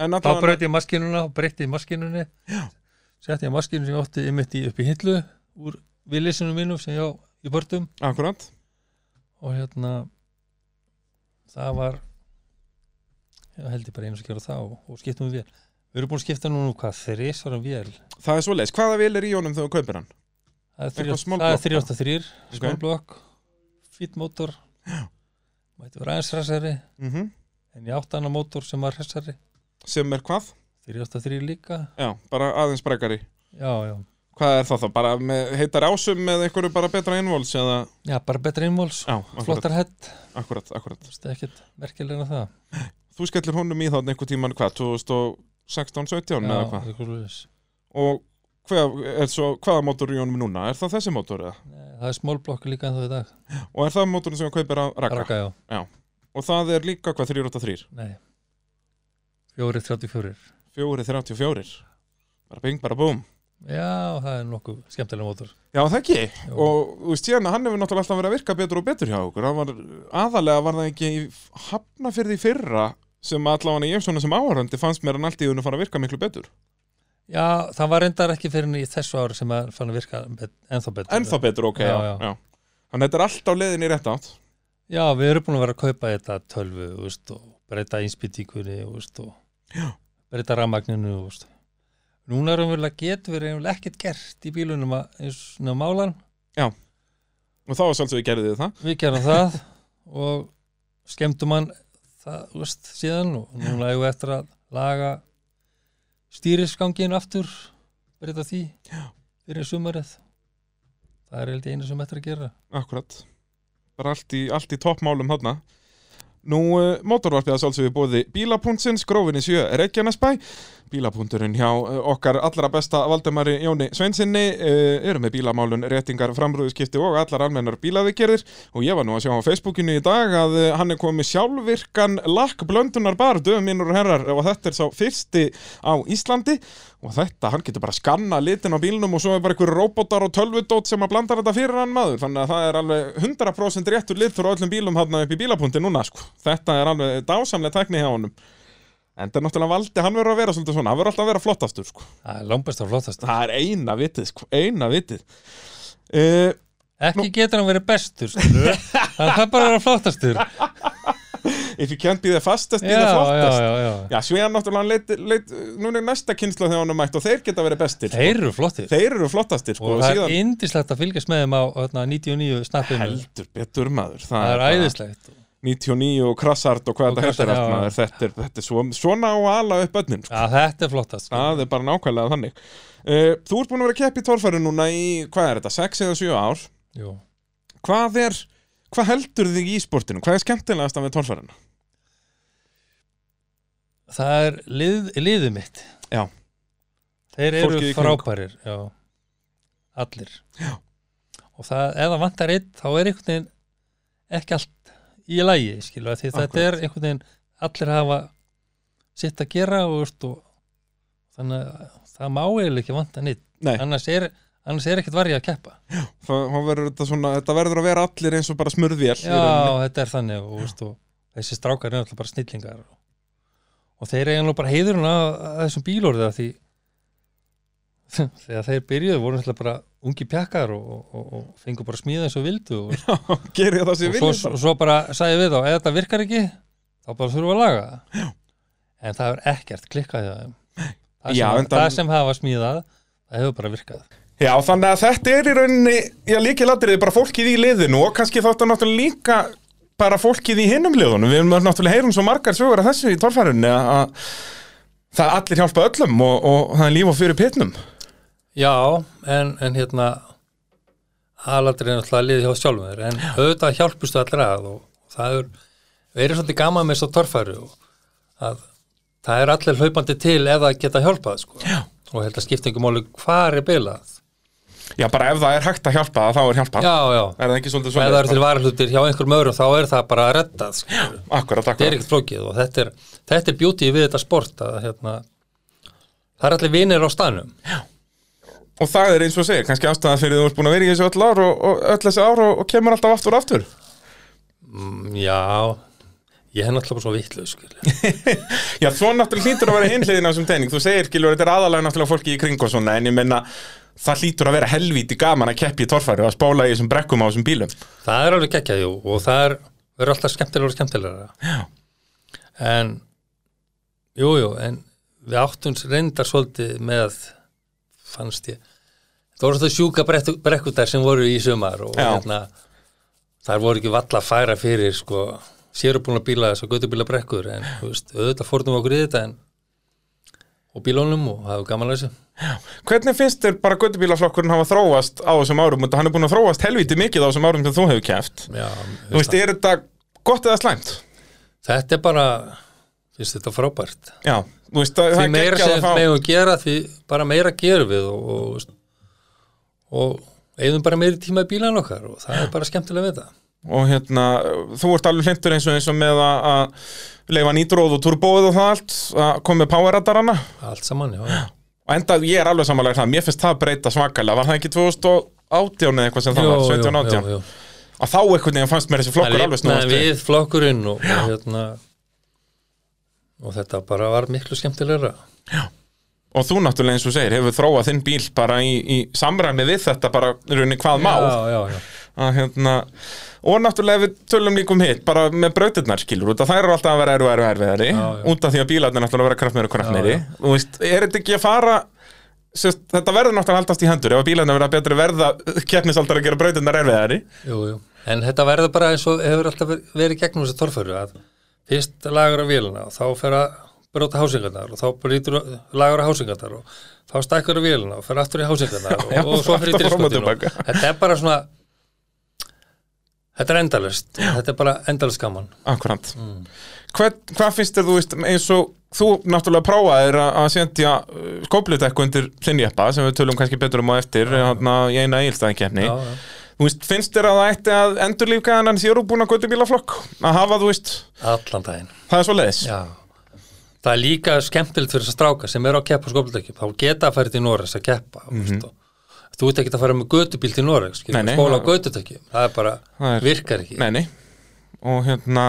Speaker 1: en
Speaker 2: þá
Speaker 1: allavega-
Speaker 2: breyti ég maskinuna og breyti ég maskinunni setti ég maskinu sem ég ótti ymmit í upp í hillu úr villisinu mínum sem ég á í börtum
Speaker 1: akkurat,
Speaker 2: og hérna það var já, held ég bara einu sem gera það og, og skiptum við vél við erum búin að skipta núna um hvað, þrísvar um vél
Speaker 1: það er svo leiðis, hvaða vil er í honum þegar þú kaupir hann
Speaker 2: það er
Speaker 1: Eitthvað
Speaker 2: 38
Speaker 1: small
Speaker 2: það er
Speaker 1: block,
Speaker 2: 383,
Speaker 1: Ok.
Speaker 2: small block fýtt mótor mætti vera aðeins hressari
Speaker 1: mm
Speaker 2: en ég átti annar mótor sem var hressari
Speaker 1: sem er hvað,
Speaker 2: 383 líka,
Speaker 1: já, bara aðeins brekari
Speaker 2: já, já
Speaker 1: Hvað er það þá? Bara með, heitar ásum með einhverju bara betra innvóls eða...
Speaker 2: já, bara betra innmáls,
Speaker 1: Já, akkurat,
Speaker 2: flottar hett
Speaker 1: akkurat, akkurat.
Speaker 2: Þú veist, ekkert merkilega það
Speaker 1: Þú skellir honum í þarna einhver tíman, hvað, 2016, 17 eða hvað?
Speaker 2: eitthvað svoleiðis.
Speaker 1: Og hvað, er svo, hvaða mótor er í honum núna? Er það þessi mótor eða?
Speaker 2: Nei, það er smólblokk líka en þá í dag
Speaker 1: Og er það mótorinn sem hann kaupir að raka?
Speaker 2: Raka, já,
Speaker 1: Og það er líka hvað, 383?
Speaker 2: nei 434
Speaker 1: 434? Bara bing, bara búm.
Speaker 2: Já, það er nokkuð skemmtilega mótor
Speaker 1: Já, það ekki.
Speaker 2: Jú.
Speaker 1: Og þú veist, hérna, hann hefur náttúrulega alltaf verið að virka betur og betur hjá okkur. Hann var, aðalega var það ekki í hafnafyrði í fyrra sem allavega ég svona sem áhörandi fannst mér hann allt í unni fara að virka miklu betur.
Speaker 2: Já, það var reyndar ekki fyrir í þessu ári sem að fann að virka bet, ennþá betur
Speaker 1: Ennþá betur, ok, já,
Speaker 2: Já,
Speaker 1: já.
Speaker 2: já.
Speaker 1: Þannig þetta er alltaf leiðin í rétt átt.
Speaker 2: Já, við erum búin að vera að kaupa þetta tölvu þú veist, og breyta einspýtíkunni þú veist, og breyta rammagninu þú veist. Núna erum við að getum við eiginlega ekkert gert í bílunum að, eins og svona málan
Speaker 1: Og þá var svolítið við gerðið það.
Speaker 2: við gerum það og skemmtum hann það, þú veist, síðan og núna eigum við eftir að laga stýrisgangin aftur breyta því fyrir sumarið það er held ég einu sem eftir að gera
Speaker 1: Akkurat. Bara allt í, allt í toppmálum þarna. Nú, uh, mótorvarpið að svolítið við bóði bílapuntsins, grófinni sjö, Reykjanesbæ. Bílapunturinn hjá uh, okkar allra besta Valdemari Jóni Sveinsinni uh, eru með bílamálun, réttingar, framrúðuskipti og allar almennar bílaðigerðir og ég var nú að sjá á Facebookinu í dag að uh, hann er komið sjálfvirkan lakkblöndunarbar, döfum mínur og herrar og þetta er sá fyrsti á Íslandi og þetta, hann getur bara skanna litin á bílnum og svo er bara einhver robotar og tölvudót sem að blanda þetta fyrir hann maður þannig að það er alveg 100% réttur lit fyrir öllum bílum hann upp í bílapunkti núna sko. þetta er alveg dásamlega tækni hjá honum en þetta er náttúrulega valdi, hann verður að vera svolítið svona, hann verður alltaf að vera flottastur sko.
Speaker 2: það er langbest og flottast
Speaker 1: það er eina vitið, sko. eina vitið uh, (laughs)
Speaker 2: ekki getur hann verið bestur skilurðu. hann þarf bara að vera flottastur
Speaker 1: if you can't be the fastest be
Speaker 2: já,
Speaker 1: the flottest
Speaker 2: já, já, já.
Speaker 1: Já, Svíðan náttúrulega hann leit, leit, núna er næsta kynsla þegar hann er mætt og þeir geta verið bestir sko.
Speaker 2: Þeir eru flottir
Speaker 1: þeir eru flottastir sko,
Speaker 2: og
Speaker 1: og
Speaker 2: það
Speaker 1: síðan
Speaker 2: er indislegt að fylgjast með þeim á hérna, öðna, 99 snappinu
Speaker 1: heldur betur maður það,
Speaker 2: Það er
Speaker 1: bara
Speaker 2: æðislegt
Speaker 1: 99 og krassart og hvað
Speaker 2: Og
Speaker 1: þetta heitir
Speaker 2: Krasart,
Speaker 1: allt
Speaker 2: já.
Speaker 1: maður þetta er, þetta er svo, svona á að ala upp öllin sko.
Speaker 2: Já, þetta er flottast sko.
Speaker 1: það er bara nákvæmlega þannig uh, Þú ert búin að vera að keppa í torfæri núna í hvað er þetta, 6 eða 7 ár
Speaker 2: Jú.
Speaker 1: hvað er, hvað heldur þig í sportinu hvað er skemmtilegast af torfærinu
Speaker 2: Það er lið, liðið mitt
Speaker 1: Já.
Speaker 2: Þeir eru
Speaker 1: Fólkið í kring.
Speaker 2: frábærir já. Allir já. Og það, ef það vantar einn þá er einhvern veginn ekki allt í lagi skilu, því þetta er
Speaker 1: Akkúrat.
Speaker 2: einhvern veginn allir hafa sitt að gera og, veist, og þannig að það má eiginlega ekki vanta neitt
Speaker 1: Nei.
Speaker 2: annars er, annars er ekkert varja að keppa
Speaker 1: það, það verður þetta, svona, þetta verður að vera allir eins og bara smurðvél í
Speaker 2: Já,
Speaker 1: rauninni. (laughs)
Speaker 2: þetta er þannig og, veist, og þessi strákar eru alltaf bara snillingar og, og þeir eiga nú bara heiðurinn að, að þessum bílorðið af því (laughs) þegar þeir byrjuðu voru alltaf bara ungi pjakkar og, og, og, og fengu bara smíða eins og vildu og,
Speaker 1: Gerið það sem
Speaker 2: og,
Speaker 1: við
Speaker 2: svo,
Speaker 1: viljum bara.
Speaker 2: og svo bara sagði við þá ef þetta virkar ekki, þá bara þurfum við að laga það en það er ekkert klikkað hjá þeim það sem,
Speaker 1: Já, en
Speaker 2: það
Speaker 1: það-
Speaker 2: sem hafa smíðað það hefur bara virkað
Speaker 1: Já, þannig að þetta er í rauninni, já, líki latrið bara fólkið í liðinu og kannski þáttan náttúrulega líka bara fólkið í hinnum liðunum. Við erum náttúrulega heyrum svo margar sögur að þessu í torfærunni að að það allir hjálpa öllum og, og það er líf og fyrir pitnum.
Speaker 2: Já, en, en hérna aðalatrið er náttúrulega liðið hjá sjálfum þér en auðvitað hjálpustu allir að og það er verið svolítið gaman með þess að torfæru og að það er allir hlaupandi til eða geta hjálpað sko. Já. og held að skipta einhver máli hvar er bilað
Speaker 1: Já, bara ef það er hægt að hjálpa þá er hjálpa.
Speaker 2: Já, já,
Speaker 1: Er það ekki svolítið
Speaker 2: og ef
Speaker 1: svona?
Speaker 2: það eru til varahlutir hjá einhverjum öðrum þá er það bara að redda sko.
Speaker 1: Akkurat,
Speaker 2: þetta er
Speaker 1: akkurat.
Speaker 2: ekkert flókið og þetta er, þetta er beauty við þetta sport að hérna það er allir vinir á staðnum
Speaker 1: Og það er eins og segir, kannski ástæða fyrir þú ert búin að vera í þessu öll ár og, og öll þessi ár og, og kemur alltaf aftur og aftur.
Speaker 2: Mm, Já, ég hef náttúrulega bara svo vitlaus skilja
Speaker 1: Já, svo náttúrulega hlýtur að vera hinliðin á þessum tegning Þú segir, Gilur, þetta er aðalega náttúrulega fólki í kring og svona En ég menna, það hlýtur að vera helvíti gaman að keppi í torfæru og Að spóla í þessum brekkum á þessum bílum
Speaker 2: Það er alveg geggjað, jú, og það er, verður alltaf skemmtilega og skemmtilega. Já. En, jú, jú, en við áttum reyndar svolítið með, fannst ég, það voru þetta sjúka brekku- brekkutar sem voru í sumar og
Speaker 1: Já.
Speaker 2: hérna, þar voru ekki valla að færa fyrir, sko, sérubúna bíla, þess að göttubíla brekkur, en, þú veist, auðvitað fórnum okkur í þetta, en, og bílónum og það var gaman að þessu.
Speaker 1: Hvernig finnst þér bara göttubílaflokkurinn hafa þróast á þessum árum Og hann er búin að þróast helvíti mikið á þessum árum sem þú hefur keppt
Speaker 2: Já,
Speaker 1: Þú veist, er þetta gott eða slæmt?
Speaker 2: þetta er bara, finnst þetta frábært.
Speaker 1: Já, þú veist, það, það
Speaker 2: því
Speaker 1: er
Speaker 2: meira
Speaker 1: geggjað
Speaker 2: sem
Speaker 1: að fá
Speaker 2: meðum gera því bara meira gerum við og, og, veist, og eigðum bara meiri tíma í bílan okkar og það er bara skemmtilega við það
Speaker 1: Og hérna, þú ert alveg hlindur eins og eins og með að- að leifa nýtróð og turbóð og það allt Að koma með powerradarana
Speaker 2: allt saman, já, já.
Speaker 1: og enda ég er alveg samanlega það, mér finnst það breyta svakalega var það ekki 2018 eða eitthvað sem það var 17-18,
Speaker 2: jú.
Speaker 1: að þá einhvern veginn fannst mér þessi flokkur alveg
Speaker 2: Lifnaði
Speaker 1: snúast við
Speaker 2: við flokkurinn og, og, hérna, og þetta bara var miklu skemmtilegra
Speaker 1: og þú náttúrulega eins og segir, hefur þróað þinn bíl bara í, í samræmi við þetta bara í rauninni hvað má
Speaker 2: já, já, já.
Speaker 1: að, hérna, og náttúrulega við tölum líkum hitt, bara með brautirnar skilur út að þær eru alltaf að vera eru eru erfiðari
Speaker 2: Já, já.
Speaker 1: út af því að bílarnir náttúrulega vera kraftmeiri og kraftmeiri þú veist, er þetta ekki að fara sérst, þetta verður náttúrulega haldast í hendur ef að bílarnir vera betri verða keppnisaldar að gera brautirnar erfiðari
Speaker 2: Jú, jú. en þetta verður bara eins og hefur alltaf ver- verið í gegnum þessi torfæru að fyrst lagur að vélina og þá fer að brota hásingarnar og þá brýtur lagur að hásingarnar og þá stækkar að vélina og fer aftur í hásingarnar og,
Speaker 1: já,
Speaker 2: og svo fyrir
Speaker 1: aftur fram og
Speaker 2: driftskotinu
Speaker 1: tilbaka.
Speaker 2: þetta er bara svona þetta er endalust þetta er bara endalust gaman
Speaker 1: Akkurant Hver, Hvað finnst þér, þú veist, eins og þú náttúrulega prófaðir að að sendja skóplutekku undir þinn jeppa sem við tölum kannski betur um á eftir hana, í eina eilstæðinkefni
Speaker 2: já, já.
Speaker 1: Þú veist, finnst þér að það ætti að endurlífka hennan sérubúna göttubílaflokk að hafa, þú veist,
Speaker 2: allan daginn
Speaker 1: það er svo leiðis
Speaker 2: já. það er líka skemmtilegt fyrir þess að stráka sem eru að keppa á skóplutekjum þá geta að færa til Noregs að keppa mm -hmm. þú ert ekki að fara með götubíl til Noregs
Speaker 1: Mhm. Nei, nei.
Speaker 2: skóla á götutekjum það er bara,
Speaker 1: Það er-
Speaker 2: virkar ekki
Speaker 1: Nei, nei Og hérna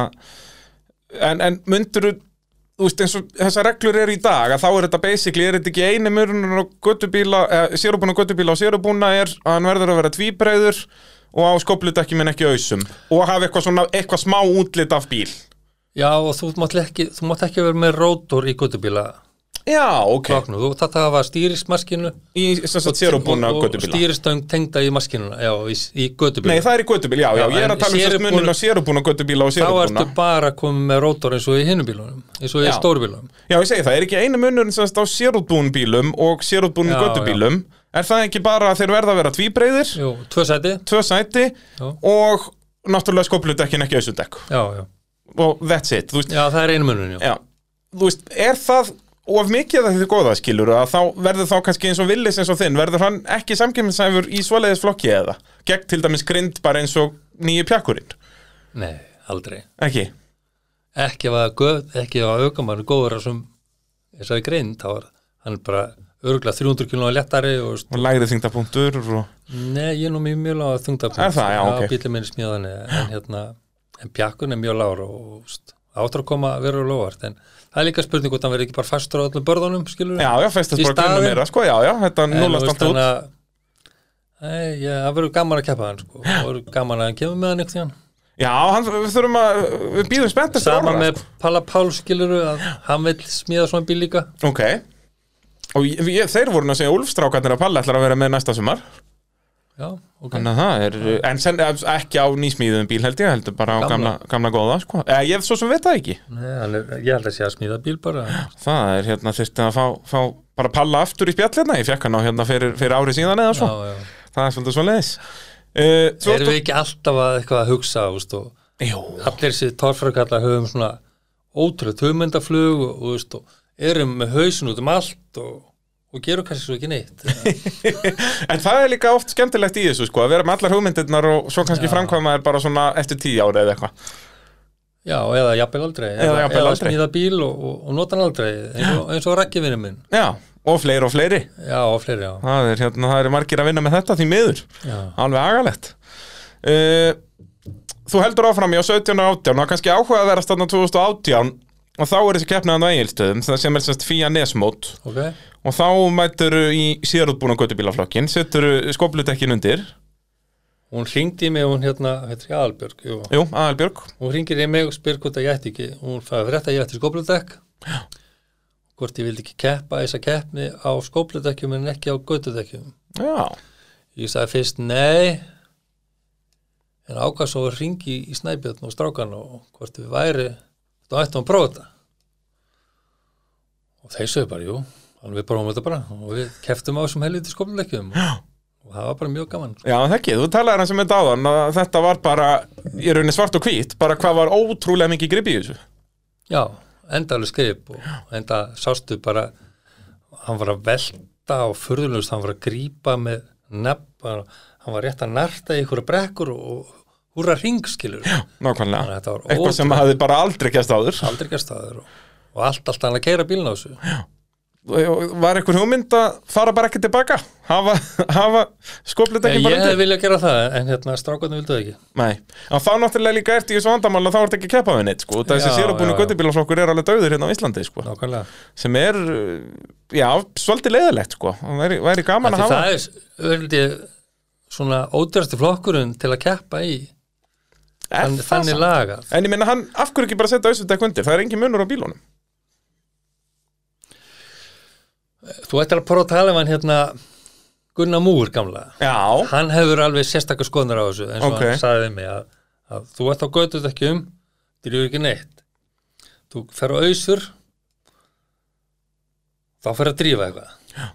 Speaker 1: En, en myndur Þú veist, eins og þessar reglur eru í dag að þá er þetta basically, er þetta ekki eini mörunum og göttubíla, eh, sérubúna og göttubíla og sérubúna er að hann verður að vera tvíbreiður og á skóplutekki minn ekki ausum og hafa eitthvað svona, eitthvað smá útlit af bíl
Speaker 2: Já, og þú mátt ekki, þú mátt ekki vera með rótor í guttubíla
Speaker 1: Já, ok
Speaker 2: kloknu, þú þarf að hafa stýrismaskinu
Speaker 1: Í þess að sér og búna gödubíla
Speaker 2: stýristöng tengda í maskinuna, já, í, í göttubíla
Speaker 1: Nei, það er í gödubíl, já, já,
Speaker 2: Já,
Speaker 1: ég er
Speaker 2: en
Speaker 1: að tala um þess að
Speaker 2: sérútbúna-
Speaker 1: munin á sér og búna gödubíla og sér
Speaker 2: þá
Speaker 1: og
Speaker 2: ertu bara komið með rótor eins og í hinnum bílunum eins og í
Speaker 1: Já.
Speaker 2: stórbílunum
Speaker 1: Já, ég segi það, er ekki einu munurinn semst á sérútbúin bílum og sérútbúin
Speaker 2: Já,
Speaker 1: göttubílum Er það ekki bara að þeir verða að vera tvíbreyðir,
Speaker 2: Jú, tvö sæti
Speaker 1: tvö sæti
Speaker 2: Já.
Speaker 1: og náttúrulega skopludekkin ekki auðsundekk
Speaker 2: já, já.
Speaker 1: og that's it, þú veist,
Speaker 2: já, það er einu munun já.
Speaker 1: já, þú veist, er það of mikið að þið góða skilur að þá verður þá kannski eins og villis eins og þinn verður hann ekki samkjöfnisæfur í svoleiðis flokki eða gegn til dæmis grind bara eins og nýju pjakkurinn,
Speaker 2: nei, aldrei
Speaker 1: ekki?
Speaker 2: ekki ef að göð, ekki ef að aukamann er góður sem þessari greind þá er hann er bara örgulega 300 km lettari og veist,
Speaker 1: Og lægri þingdapunktur og...
Speaker 2: nei, ég er nú mjög mjög lág að þungta
Speaker 1: Er það? Já, ok.
Speaker 2: bílum minn er smíðan en hérna, en bjakkun er mjög lágur og veist, áttur að koma að vera lofart en það er líka spurning hvort hann verið ekki bara fastur á öllum börðunum, skilur
Speaker 1: Já, já, festast
Speaker 2: Í
Speaker 1: bara grunnum
Speaker 2: staðinn-
Speaker 1: meira, sko, já, já, þetta núlast allt út
Speaker 2: að Nei, já, það verður gaman að keppa hann sko. það verður gaman að hann kemur með hann ykkur tíðan
Speaker 1: Já, hann, við þurfum að, við býðum spennt eftir
Speaker 2: Sama
Speaker 1: orra,
Speaker 2: með Palla Pál skiluru að hann vill smíða svona bíl líka
Speaker 1: sko. Ok, og ég, ég, þeir voru nú að segja Úlfstrákarnir að Palli ætlar að vera með næsta sumar
Speaker 2: Já, ok
Speaker 1: Þannig að það er, en sen, eh, ekki á nýsmíðum bíl held ég, heldur bara á gamla,
Speaker 2: Gamla.
Speaker 1: gamla góða, sko Eh, Ég svo sem veit það ekki
Speaker 2: Nei, hann er, Ég held að sé að smíða bíl bara
Speaker 1: Það er hérna þyrfti að fá, fá bara palla aftur í spjall hérna, ég fekk hann á hérna fyrir, fyrir ári síðan eða
Speaker 2: Já,
Speaker 1: svo,
Speaker 2: já
Speaker 1: það er svolítið svo leiðis uh, svo,
Speaker 2: Erum við ekki alltaf að eitthvað að hugsa úst, og
Speaker 1: Jú,
Speaker 2: allir sér torfrakallar höfum svona ótrúð hugmyndaflug og, og, úst, og erum með hausin út um allt og, og gerum kannski svo ekki neitt
Speaker 1: en það er líka oft skemmtilegt í þessu sko, að vera með allar hugmyndirnar og svo kannski
Speaker 2: Já.
Speaker 1: framkvæma er bara svona eftir tíu ári eða eitthvað
Speaker 2: Já, eða jafnvel aldrei
Speaker 1: jafnvel
Speaker 2: eða
Speaker 1: aldrei.
Speaker 2: smíða bíl og, og, og nota hann aldrei eins og, eins og rakkivinni minn
Speaker 1: Já, og fleiri og fleiri
Speaker 2: Já, og fleiri, já,
Speaker 1: það er, hérna, það er margir að vinna með þetta því miður
Speaker 2: já.
Speaker 1: Alveg agalegt uh, Þú heldur áfram í á 17 og 18 og kannski áhuga að vera stanna 2018 og þá er þessi keppnaðan á eigilstöðum sem er semst fíja nesmót
Speaker 2: ok
Speaker 1: og þá mætur í síðarútbúna göttubílaflokkin, setur skoplutekkin undir
Speaker 2: Hún hringdi í mig, hún hérna, heitir ég Albjörg jú.
Speaker 1: Jú, Aðalbjörg
Speaker 2: Hún hringir í mig og spyr hvort að ég ætti ekki Hún fæði að frétta að ég ætti skópludekk Hvort ég vildi ekki keppa þessa keppni á skópludekkjum en ekki á gautudekjum
Speaker 1: Já,
Speaker 2: Ég sagði fyrst nei en ákvað svo að hringi í snæbjörn og strákan og hvort við væri þá ættum við að prófa þetta og þeir sögðu bara, jú þannig við prófum þetta bara og við keftum á þessum helviti skópludekkjum og, og það var bara mjög gaman
Speaker 1: Já það ekki, þú talaði hans um þetta áðan að þetta var bara, ég raunin svart og hvít bara hvað var ótrúlega mikið grip í þessu
Speaker 2: Já, endalega skrif og enda sástu bara hann var að velta og furðulegust hann var að grípa með nepp hann var rétt að narta í ykkur brekkur og húra ringskilur Já,
Speaker 1: Nákvæmlega,
Speaker 2: þetta var
Speaker 1: eitthvað sem hafði bara aldrei gæst áður
Speaker 2: aldrei gæstaður og, og allt, allt hann að keira bílna á þessu
Speaker 1: Var eitthvað hugmynd að fara bara ekki tilbaka hafa, (laughs) hafa skoplutekkin
Speaker 2: Ég
Speaker 1: bara
Speaker 2: hefði
Speaker 1: undir
Speaker 2: viljað gera það en hérna strákarnir vildu það ekki
Speaker 1: Nei, en þá náttúrulega líka ert í þessu vandamál að þá ert ekki að keppa við neitt sko, þessi
Speaker 2: Já,
Speaker 1: sérubúinu
Speaker 2: já, já.
Speaker 1: göttubílaflokkur er alveg döður hérna á Íslandi sko,
Speaker 2: Nákvæmlega
Speaker 1: sem er, uh, já, svolítið leiðilegt sko, það væri, væri gaman að
Speaker 2: Því
Speaker 1: hafa
Speaker 2: það er ölldi svona ódýrasti flokkurinn til að keppa í
Speaker 1: Er
Speaker 2: þann,
Speaker 1: það
Speaker 2: þannig
Speaker 1: samt?
Speaker 2: lagað
Speaker 1: En ég meina, hann, af hverju ekki bara setja auðvitað undir, það er engin munur á bílunum
Speaker 2: Þú ættir að prófa að tala um hann hérna Gunnar Múr gamla
Speaker 1: Já,
Speaker 2: hann hefur alveg sérstakar skoðnir á þessu eins og
Speaker 1: Ok.
Speaker 2: hann sagði við mig að, að þú ert á götuð ekki um drýður ekki neitt þú fer á ausur þá fer að drífa eitthvað Já.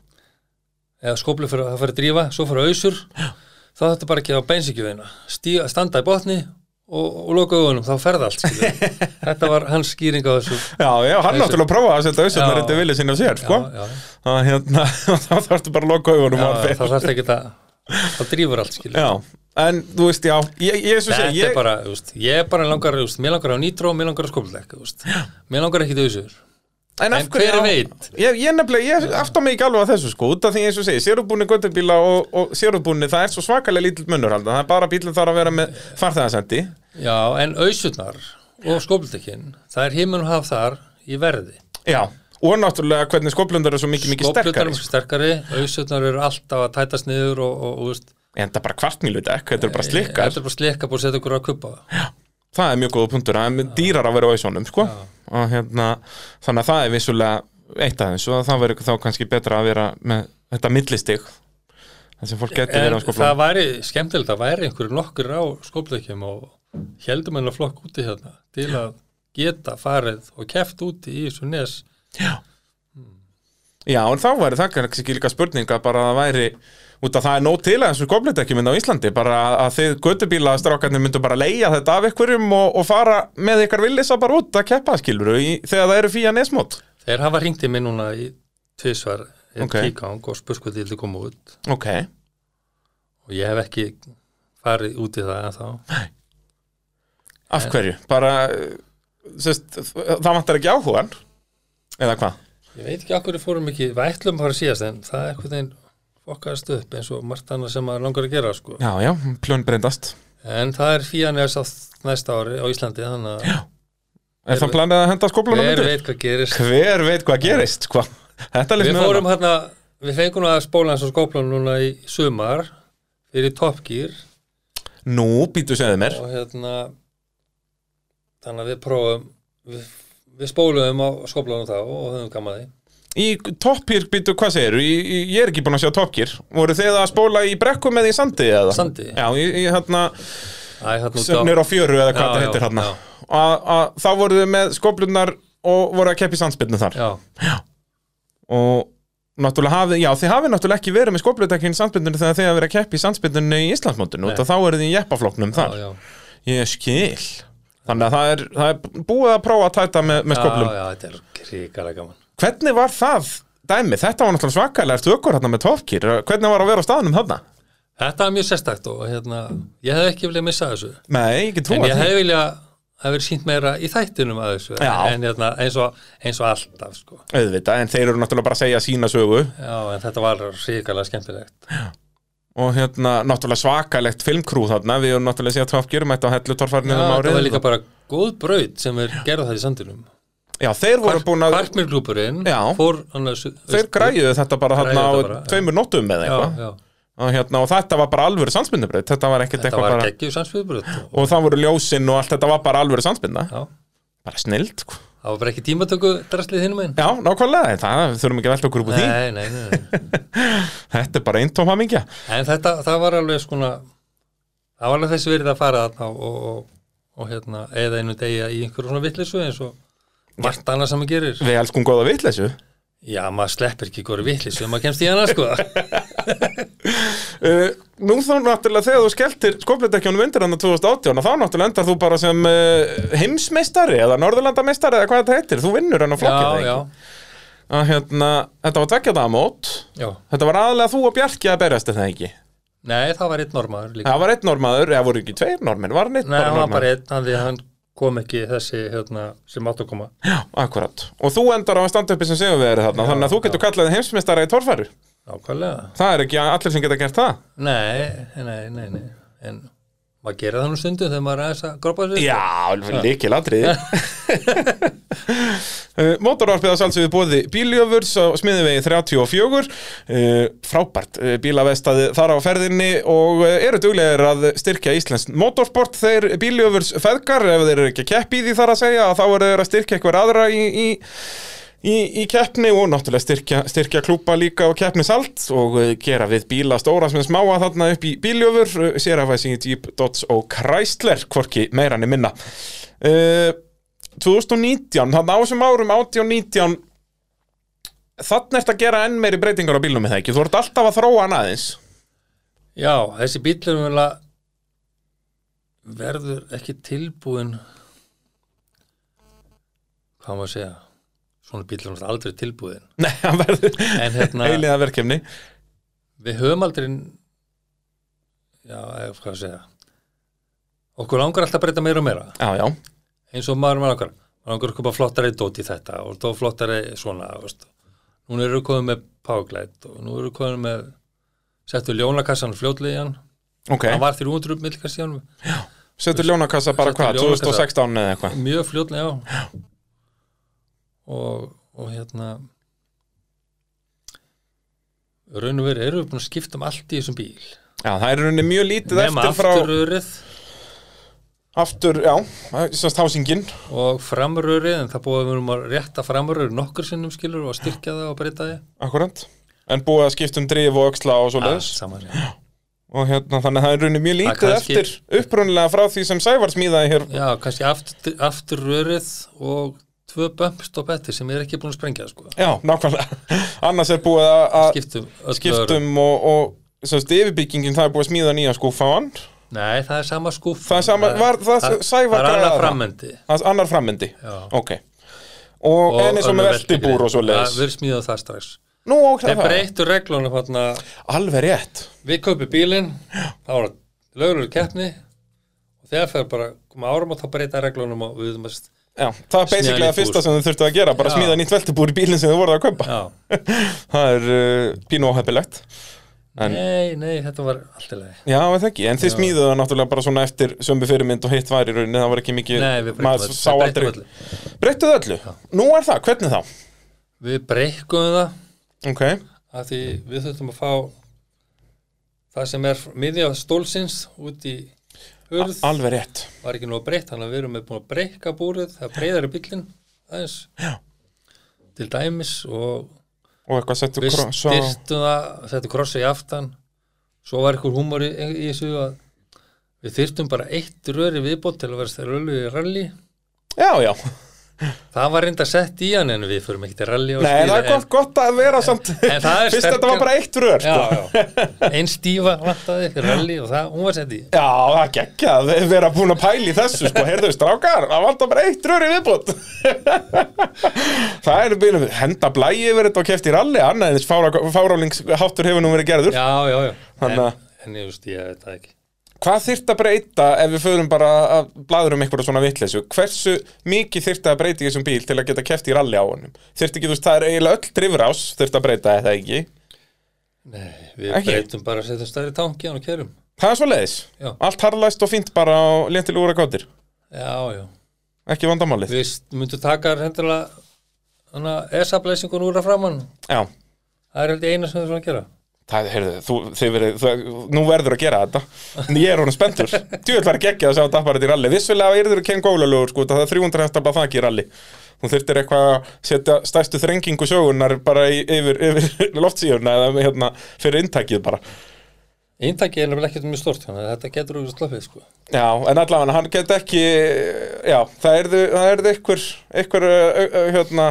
Speaker 2: eða skóplu fer, þá fer að drífa svo fer á ausur Já. þá þetta bara ekki á beinsikjöfina Stíga, standa í botni og, og loka augunum þá ferða allt skilurðu. (laughs) þetta var hans skýring á þessu
Speaker 1: já, já, hann
Speaker 2: Ausu.
Speaker 1: náttúrulega prófaði að setja auðvitað
Speaker 2: Já.
Speaker 1: undir vilja sinni á sér sko,
Speaker 2: já, já,
Speaker 1: að hérna, (laughs) þá þarftu bara að loka augunum á
Speaker 2: já,
Speaker 1: hann
Speaker 2: þá
Speaker 1: fyrir.
Speaker 2: þarf ekki að þá drífur allt skilur
Speaker 1: Já, en þú veist, já, ég, ég, svo
Speaker 2: Þetta
Speaker 1: segi, ég,
Speaker 2: er bara, þú veist, ég er bara langar, þú veist, mér langar á nýtró, mér langar á skópildekk, þú veist, mér langar ekki döðsur.
Speaker 1: en af
Speaker 2: En
Speaker 1: hverju
Speaker 2: hver
Speaker 1: á-
Speaker 2: veit?
Speaker 1: Ég, ég nefnilega, ég aftar mig ekki alveg að þessu sko, út af því eins og segi, sérubúni göttubíla og, og sérubúni, það er svo svakalega lítill munur haldan, það er bara bílinn þarf að vera með farþegasendi.
Speaker 2: Já, en auðsutnar og skópildekkin, það er himun og haf þar í verði.
Speaker 1: Já. Og náttúrulega hvernig skoplundar er svo mikið, mikið
Speaker 2: Skópildekkin
Speaker 1: sterkari. sko.
Speaker 2: er sterkari, auðsutnar eru alltaf að tætast niður og, og, og þú veist, Eh,
Speaker 1: En það er bara kvartmílu dekk, þetta er bara slikka.
Speaker 2: þetta er bara slikka búið að setja okkur á kubba.
Speaker 1: það er mjög góða punktur það er mjög dýrar að vera á auðsónum sko.
Speaker 2: Já.
Speaker 1: og hérna, þannig að það er vissulega eitt aðeins og það verður þá kannski betra að vera með þetta millistig þar sem fólk getur verið
Speaker 2: En
Speaker 1: á skóflum
Speaker 2: það væri skemmtilegt, það væri einhverjum nokkur á skóplökkjum og heldum enn að flokk úti hérna til að geta farið og keft úti í þessu nes
Speaker 1: Já, en þá væri það kannski líka spurning að bara það væri, út að það er nóg til að þessu goblindekkjuminn á Íslandi, bara að- að þið gödubílastrákarnir myndu bara leia þetta af ykkurjum og, og fara með ykkar villisa bara út að keppa skiluru í, þegar það eru fíja nesmót.
Speaker 2: Þeir hafa ringt í mig núna í tvisvar einn
Speaker 1: Ok.
Speaker 2: okay. kíkang og spurst hvað þið vildi koma út
Speaker 1: Ok,
Speaker 2: og ég hef ekki farið út í það en þá.
Speaker 1: af hverju? Bara, eh, sérst, það vantar ekki áhugan, eða hvað?
Speaker 2: Ég veit ekki okkur við fórum ekki, við ætlum að fara síðast en það er einhvern veginn fokkaðast upp eins og margt annað sem maður langar að gera sko.
Speaker 1: Já, já, plön breyndast.
Speaker 2: En það er fíjanes á næsta ári á Íslandi þannig
Speaker 1: Er það planið að henda
Speaker 2: að
Speaker 1: skoblunum
Speaker 2: hver
Speaker 1: undir?
Speaker 2: veit hvað gerist.
Speaker 1: Hver veit hvað gerist, hvað? Þetta
Speaker 2: Við
Speaker 1: lýst
Speaker 2: fórum hérna, við fengum að spóla hans á skóplan núna í sumar fyrir Top Gear
Speaker 1: Nú, býtu segðu mér.
Speaker 2: og hérna þannig að við prófum við, við spóluðum á skóplanum þá og höfum gaman að því.
Speaker 1: Í toppir, býtu, hvað segirðu? Í, í, ég er ekki búinn að sjá toppir. Voru þið að spóla í brekkum eða í sandi eða?
Speaker 2: Sandi.
Speaker 1: Já, í, í hérna,
Speaker 2: Æ, hérna út á-
Speaker 1: sögnir á fjöru eða hvað
Speaker 2: Já,
Speaker 1: það
Speaker 2: já,
Speaker 1: heitir hérna.
Speaker 2: já.
Speaker 1: Að- að Þá voru þið með skoblunar og voru að keppa í sandspilnu þar.
Speaker 2: Já,
Speaker 1: Og náttúrulega hafið, já, þið hafið náttúrulega ekki verið með skoblutekkin í sandspilnunni þegar þið hafið verið að keppa í sandspilnunni í Íslandsmótinu. út af Þá eru þið í jeppafloknum
Speaker 2: já,
Speaker 1: þar.
Speaker 2: já.
Speaker 1: Ég skil. Þannig að það er, það er búið að prófa að tæta með, með skoblum.
Speaker 2: Já, já, þetta er ríkara gaman.
Speaker 1: Hvernig var það dæmi? Þetta var náttúrulega svakalært ökur hérna með topkýr. Hvernig var að vera á staðnum þarna?
Speaker 2: Þetta er mjög sérstakt og hérna, ég hef ekki viljað missa þessu.
Speaker 1: Nei, ekki trú
Speaker 2: En
Speaker 1: að
Speaker 2: ég
Speaker 1: því.
Speaker 2: hef viljað að vera sínt meira í þættinum að þessu.
Speaker 1: Já.
Speaker 2: En hérna, eins og, eins og alltaf, sko.
Speaker 1: Auðvitað, en þeir eru náttúrulega bara að segja sína sögu
Speaker 2: Já, en þetta var ríkala skemmtilegt.
Speaker 1: og hérna, náttúrulega svakalegt filmkrú þarna, við erum náttúrulega séð topkýr mætt á hellutorfarnir um
Speaker 2: þetta
Speaker 1: árið.
Speaker 2: var líka bara góð braut sem er gerða það í sandinum.
Speaker 1: Já, þeir voru búin að,
Speaker 2: Kvartmirglúpurinn
Speaker 1: Já.
Speaker 2: fór annars...
Speaker 1: þeir græjuðu þetta bara
Speaker 2: Græjuðu
Speaker 1: þarna á
Speaker 2: þetta bara, já.
Speaker 1: tveimur nóttum með
Speaker 2: Já,
Speaker 1: eitthvað.
Speaker 2: já.
Speaker 1: Og, hérna, og þetta var bara alvöru sandsmyndabrið, þetta var ekkert
Speaker 2: Þetta
Speaker 1: eitthvað
Speaker 2: var
Speaker 1: bara...
Speaker 2: geggjum sannsviðbröð.
Speaker 1: Og það voru ljósinn og allt þetta var bara alvöru sandsmynda.
Speaker 2: Já,
Speaker 1: Bara snild, sko.
Speaker 2: það var bara ekki tímatöku draslið hinum einn.
Speaker 1: Já, nákvæmlega, það við þurfum ekki að velta okkur upp úr því.
Speaker 2: Nei, nei, nei, nei.
Speaker 1: Þetta er bara eintóm hamingja.
Speaker 2: En þetta, það var alveg sko svona það var alveg þessi verið að fara þarna og, og, og hérna, eða einu degja í einhverju svona vitleysu eins og margt annað sem maður gerir.
Speaker 1: Við elskum góða vitleysu.
Speaker 2: Já, maður sleppir ekki hverju vitleysu ef maður kemst í hana,
Speaker 1: (laughs)
Speaker 2: sko.
Speaker 1: Uh, nú þá náttúrulega þegar þú skelltir skoflutekjunum undir hann 2018 þá náttúrulega endar þú bara sem uh, heimsmeistari eða norðurlandameistari eða hvað þetta heitir þú vinnur hann á
Speaker 2: já,
Speaker 1: flokkið
Speaker 2: já,
Speaker 1: að hérna, þetta var tveggjaðamót
Speaker 2: já.
Speaker 1: þetta var aðlega þú og Bjarki að berjast er það ekki
Speaker 2: Nei, það var einn normaður líka.
Speaker 1: það var einn normaður, eða voru ekki tveir normin var hann einn
Speaker 2: Nei, hann var
Speaker 1: normaður
Speaker 2: bara einn, hann því hann kom ekki þessi hérna, sem átt að koma.
Speaker 1: já, akkurat, og þú endar á að standa uppi sem segjum við erum þarna þannig að þú getur kallað þig heimsmeistari í torfæru
Speaker 2: Nákvæmlega.
Speaker 1: það er ekki allir sem geta gert það
Speaker 2: Nei, nei, nei, nei. En maður gerir það nú stundum þegar maður er aðeins að grópa þessu.
Speaker 1: Já, líkil atriði (laughs) Eh, Mótorvarpið að sálsögðu bóði bíljöfurs á smiðivegi 34 Eh, frábært eh, bílavestaði þar á ferðinni og eh, eru duglegir að styrkja Íslands motorsport þeir bíljöfurs feðgar ef þeir eru ekki að keppi í því þar að segja að þá eru þeir að styrkja eitthvað aðra í, í Í, í keppni og náttúrulega styrkja, styrkja klúpa líka og keppnisalt og eh, gera við bíla stóra sem smáa þarna upp í bíljöfur sér að fæsing í Jeep, Dodge og Chrysler hvorki meira niður minna uh, 2019, þannig á þessum árum 18 og 19 þannig ert að gera enn meiri breytingar á bílnum eða ekki, þú ert alltaf að þróa hann aðeins (laughs)
Speaker 2: Já, þessi bíl er vel að verður ekki tilbúin hvað maður að segja svona bíl er náttúrulega aldrei tilbúin
Speaker 1: Nei, hann verður
Speaker 2: en
Speaker 1: (laughs)
Speaker 2: hérna,
Speaker 1: eiliða verkefni
Speaker 2: við höfum aldrei já, eða hvað að segja okkur langar alltaf að breyta meira og meira
Speaker 1: Já, já,
Speaker 2: eins og maður maður langar maður langar að köpa flottari dót í þetta og þá flottari svona þú veist. núna eru komin með powerglide og nú eru komin með settu ljónakassan fljótlega í hann
Speaker 1: ok
Speaker 2: hann var 300 millikast í hann
Speaker 1: Setur ljónakassa bara
Speaker 2: Setur
Speaker 1: hvað,
Speaker 2: ljónakassa.
Speaker 1: 2016 eða eitthvað
Speaker 2: mjög fljótlega já. og, og hérna raun og verið erum við búin að skipta um allt í þessum bíl
Speaker 1: Já, það er í rauninni mjög lítið
Speaker 2: nema
Speaker 1: eftir frá
Speaker 2: aftururið
Speaker 1: Aftur, já, semst hásingin
Speaker 2: og framröri, en það búið við um að rétta framröri nokkur sinnum skilur og styrkja það og breyta því
Speaker 1: Akkurant En búið að skipta um drif og öxla og svo
Speaker 2: Allt
Speaker 1: leiðis
Speaker 2: saman, já.
Speaker 1: Og hérna, þannig að það er raunin mjög lítið
Speaker 2: kannski-
Speaker 1: eftir Upprunnilega frá því sem Sævar smíðaði hér
Speaker 2: já, kannski aftur, aftur rörið og tvö bömpstopp eftir sem ég er ekki búin að sprengja sko.
Speaker 1: Já, nákvæmlega (laughs) Annars er búið að að
Speaker 2: skiptum, öllu öðru.
Speaker 1: skiptum og, og semst yfirbyggingin það er búið að smíða nýja skúfáan
Speaker 2: nei, það er sama skúf
Speaker 1: Það er sama, var það,
Speaker 2: það,
Speaker 1: Sævar
Speaker 2: það er
Speaker 1: græða
Speaker 2: annað
Speaker 1: það?
Speaker 2: framendi
Speaker 1: Það er annar frammendi
Speaker 2: já.
Speaker 1: Ok Og, en eins og með
Speaker 2: önnur
Speaker 1: veltibúr og svo
Speaker 2: veltigrein.
Speaker 1: leiðis
Speaker 2: Það- við smíðum það strax
Speaker 1: Nú, ok,
Speaker 2: þeir
Speaker 1: það
Speaker 2: breyttu reglunum þarna
Speaker 1: Alveg rétt
Speaker 2: við kaupum bílinn þá var það lögulegur keppni og þegar fer bara koma árum og þá breyta reglunum og við um að
Speaker 1: Já, það er
Speaker 2: Smíða
Speaker 1: basically
Speaker 2: nýtt
Speaker 1: það fyrsta sem þau þurftu að gera bara
Speaker 2: Já.
Speaker 1: smíða nýtt veltibúr í bílinn sem þau voru að
Speaker 2: (laughs)
Speaker 1: kaupa
Speaker 2: já,
Speaker 1: Það er uh, pínu óheppilegt En-
Speaker 2: nei, nei, þetta var allt í lagi
Speaker 1: Já, er það ekki, en þið smíðuðu það náttúrulega bara svona eftir sömu fyrirmynd og hitt var í rauninni, það var ekki mikið
Speaker 2: Nei, við breyttum
Speaker 1: maður
Speaker 2: öllu.
Speaker 1: sá
Speaker 2: Við
Speaker 1: aldrei
Speaker 2: breyttum öllu.
Speaker 1: Breyttuðu öllu? Nú er það, hvernig þá?
Speaker 2: við breykum það
Speaker 1: Ok,
Speaker 2: af því við þurfum að fá það sem er miðja stólsins út í hurð
Speaker 1: A alveg rétt
Speaker 2: var ekki nú að breytt þannig að við erum með búin að breyka búrið það breyðar í bílinn aðeins já. til dæmis og
Speaker 1: Og eitthvað settu
Speaker 2: við
Speaker 1: kross á
Speaker 2: styrtum það þetta krossi í aftan svo var einhver húmor í, í þessu að við þyrftum bara eitt röri viðbót til að vera stær rölu í rally
Speaker 1: Já, já,
Speaker 2: það var reynda sett í hann en við förum ekki til rally og
Speaker 1: nei, það er
Speaker 2: smíða,
Speaker 1: gott, gott að vera samt
Speaker 2: (laughs) en það er
Speaker 1: Fyrst þetta var
Speaker 2: sterkara-
Speaker 1: bara eitt rör, sko
Speaker 2: en, já, já. ein stífa vantaði fyrir rally og það, hún var sett í
Speaker 1: Já, það gekkja að vera búin að pæla í þessu sko, heyrðu strákar, það vantar bara eitt rör í viðbútt (laughs) Það er byrjum við henda blæi yfir þetta og kefti í ralli annað en þess fárálingsháttur hefur nú verið gerður
Speaker 2: já, já, já, en,
Speaker 1: Þannig að-
Speaker 2: en ég veist ég veit það ekki
Speaker 1: Hvað þyrft að breyta ef við förum bara að blaður um einhverja svona vitleysu Hversu mikið þyrft að breyta í þessum bíl til að geta kefti í ralli á honum Þyrft ekki, þú veist, það er eiginlega öll drifrás þyrft að breyta eða ekki
Speaker 2: Nei, við
Speaker 1: Ekki?
Speaker 2: breytum bara að setja stærri tanki á hann og kerum
Speaker 1: Það er svo leiðis,
Speaker 2: Já.
Speaker 1: allt harlæst og fínt bara og léttil úr að gáttir
Speaker 2: Já, já,
Speaker 1: Ekki vandamálið
Speaker 2: við myndum taka hendilega hana S-ablæsingun úr að framann
Speaker 1: Já
Speaker 2: það er held ég eina sem við svona að gera
Speaker 1: Það, heyrðu, þú, þið verið, það, nú verður að gera þetta En ég er honum spenntur Djúvel var ekki að sjá dapparit í ralli Vissulega yrður að ken gólulegur sko Það er 300 hestafla þak í ralli Þú þurftir eitthvað að setja stæstu þrengingu sögunar Bara í, yfir, (laughs) yfir loftsíðuna Eða hérna, fyrir inntækið bara
Speaker 2: Eintakið er nefnilega ekkert mjög stort þannig að þetta getur úr sloppið sko
Speaker 1: Já, en allavega hann get ekki Já, það yrðu, það yrðu einhver Einhver, ö, ö, hérna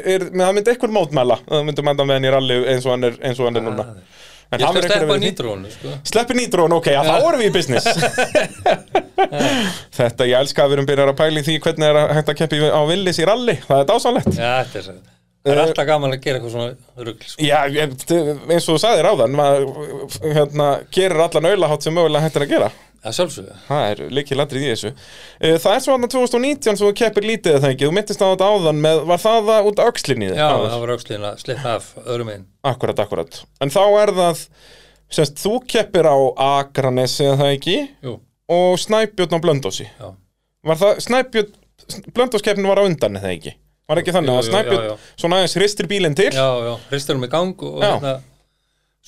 Speaker 1: er, Það myndi einhver mótmæla Það myndi mæta með hann í ralli eins og hann er, eins og hann er núna En hann er
Speaker 2: Ég ætla að
Speaker 1: einhver
Speaker 2: steppa
Speaker 1: yfir því.
Speaker 2: nýtrónu sko
Speaker 1: Sleppi nýtrón, ok, já, þá erum við í
Speaker 2: (laughs)
Speaker 1: business Þetta, ég elska að við erum byrjar að pæli því hvernig er að hægt að keppi á villis í ralli Það er dásanlegt
Speaker 2: Já, þetta er svo Það
Speaker 1: Eh,
Speaker 2: er alltaf gaman að gera eitthvað svona rugl sko.
Speaker 1: Já, ég- eins og þú sagðir áðan maður hérna, gerir allan aulahátt sem mögulega hægt er að gera
Speaker 2: Það sjálfsögðu
Speaker 1: Það er líkilandrið í þessu Eh, Það er svo hann 2019 sem þú keppir lítið eða það ekki, þú mittist á þetta áðan með, var það það út af öxlinni
Speaker 2: Já, það var áksliðin að slippa af öðrum einn
Speaker 1: Akkurat, akkurat En þá er það, semst, þú keppir á Akranesi eða það ekki
Speaker 2: Jú,
Speaker 1: og Snæbjörn á Blöndósi
Speaker 2: já
Speaker 1: var það Snæbjörn, Blöndóskeppnin var á undan eða ekki, var ekki þannig
Speaker 2: Jú,
Speaker 1: að
Speaker 2: jú,
Speaker 1: Snæbjörn
Speaker 2: já, já.
Speaker 1: svona aðeins hristir bílinn til
Speaker 2: Já, já, hristurum í gang og
Speaker 1: Já.
Speaker 2: hérna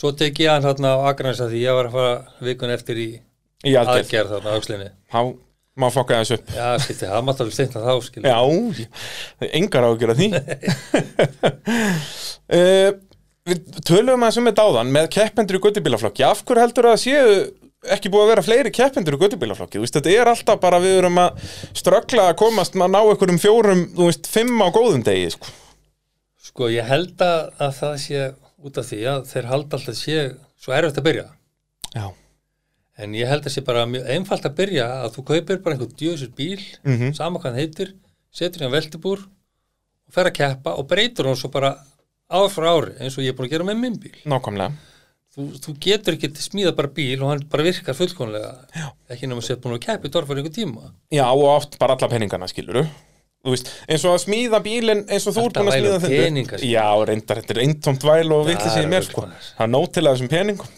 Speaker 2: Svo tek ég hann hérna á Akranins að því ég var að fara vikun eftir í
Speaker 1: í aðgerð,
Speaker 2: aðgerð þarna á öxlinni
Speaker 1: þá má fokka þessu upp
Speaker 2: Já, skilti, það mátt alveg steinna þá, skilti
Speaker 1: já, það er engar á að
Speaker 2: (laughs)
Speaker 1: gera því (laughs) uh, við tölum aðeins um þetta áðan með keppendur í guttubílaflokki af hverju heldur að það séu ekki búið að vera fleiri keppendur í guttubílaflokki þú veist, þetta er alltaf bara við erum að ströggla að komast að ná einhverjum fjórum, þú veist, fimm á góðum degi sko.
Speaker 2: Sko, ég held að, að það sé út af því að þeir halda alltaf sé svo erfitt að byrja.
Speaker 1: já,
Speaker 2: En ég held að sé bara mjög einfalt að byrja að þú kaupir bara einhver djöðsir bíl,
Speaker 1: Mhm.
Speaker 2: sama hvað hann heitir, setur hann veltibúr og fer að keppa og breytur hann svo bara ár frá ári eins og ég er búin að gera með minn bíl.
Speaker 1: nákvæmlega
Speaker 2: Þú, þú getur ekki smíða bara bíl og hann bara virkar fullkomlega. Já. Ekki nema sér búin að keppa í dorfari einhver tíma.
Speaker 1: Já, og átt bara alla peningana, skiluru Þú veist, eins og að smíða bílinn eins og þú ert
Speaker 2: Alltaf
Speaker 1: búin að
Speaker 2: væla
Speaker 1: smíða
Speaker 2: um
Speaker 1: þetta
Speaker 2: peninga, skilurðu.
Speaker 1: Já, reyndar, þetta er eintómt væl og vitlis í
Speaker 2: er
Speaker 1: mér, sko
Speaker 2: fullkomlega.
Speaker 1: Það er nóg til að þessum peningum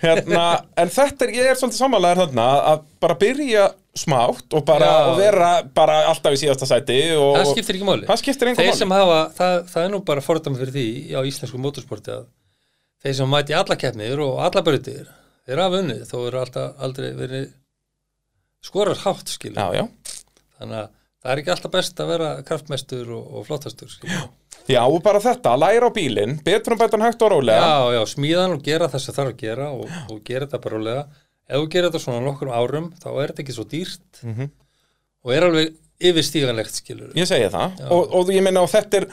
Speaker 1: Hérna,
Speaker 2: (laughs)
Speaker 1: en þetta er, ég er svolítið samanlegar þarna að bara byrja smátt og bara
Speaker 2: Já.
Speaker 1: og vera bara alltaf í síðasta sæti og,
Speaker 2: það skiptir ekki máli.
Speaker 1: Það skiptir engum
Speaker 2: þeir
Speaker 1: máli
Speaker 2: sem hafa, það, það er nú bara fordæmi fyrir því á íslensku motorsporti að þeir sem mæti alla keppnir og alla brautir þeir hafa unnið þó eru alltaf aldrei verið skorar hátt skilur
Speaker 1: já, já.
Speaker 2: þannig að það er ekki alltaf best að vera kraftmestur og, og flottastur skilur.
Speaker 1: Já, og bara þetta, læra á bílinn, betur um betan hægt og rólega.
Speaker 2: já, já, smíðan og gera það sem þarf að gera og, og gera þetta bara rólega ef þú gerir þetta svona nokkur árum þá er þetta ekki svo dýrt
Speaker 1: Mhm.
Speaker 2: og er alveg yfirstíganlegt skilur
Speaker 1: Ég segi það. Og, og ég meina, og þetta er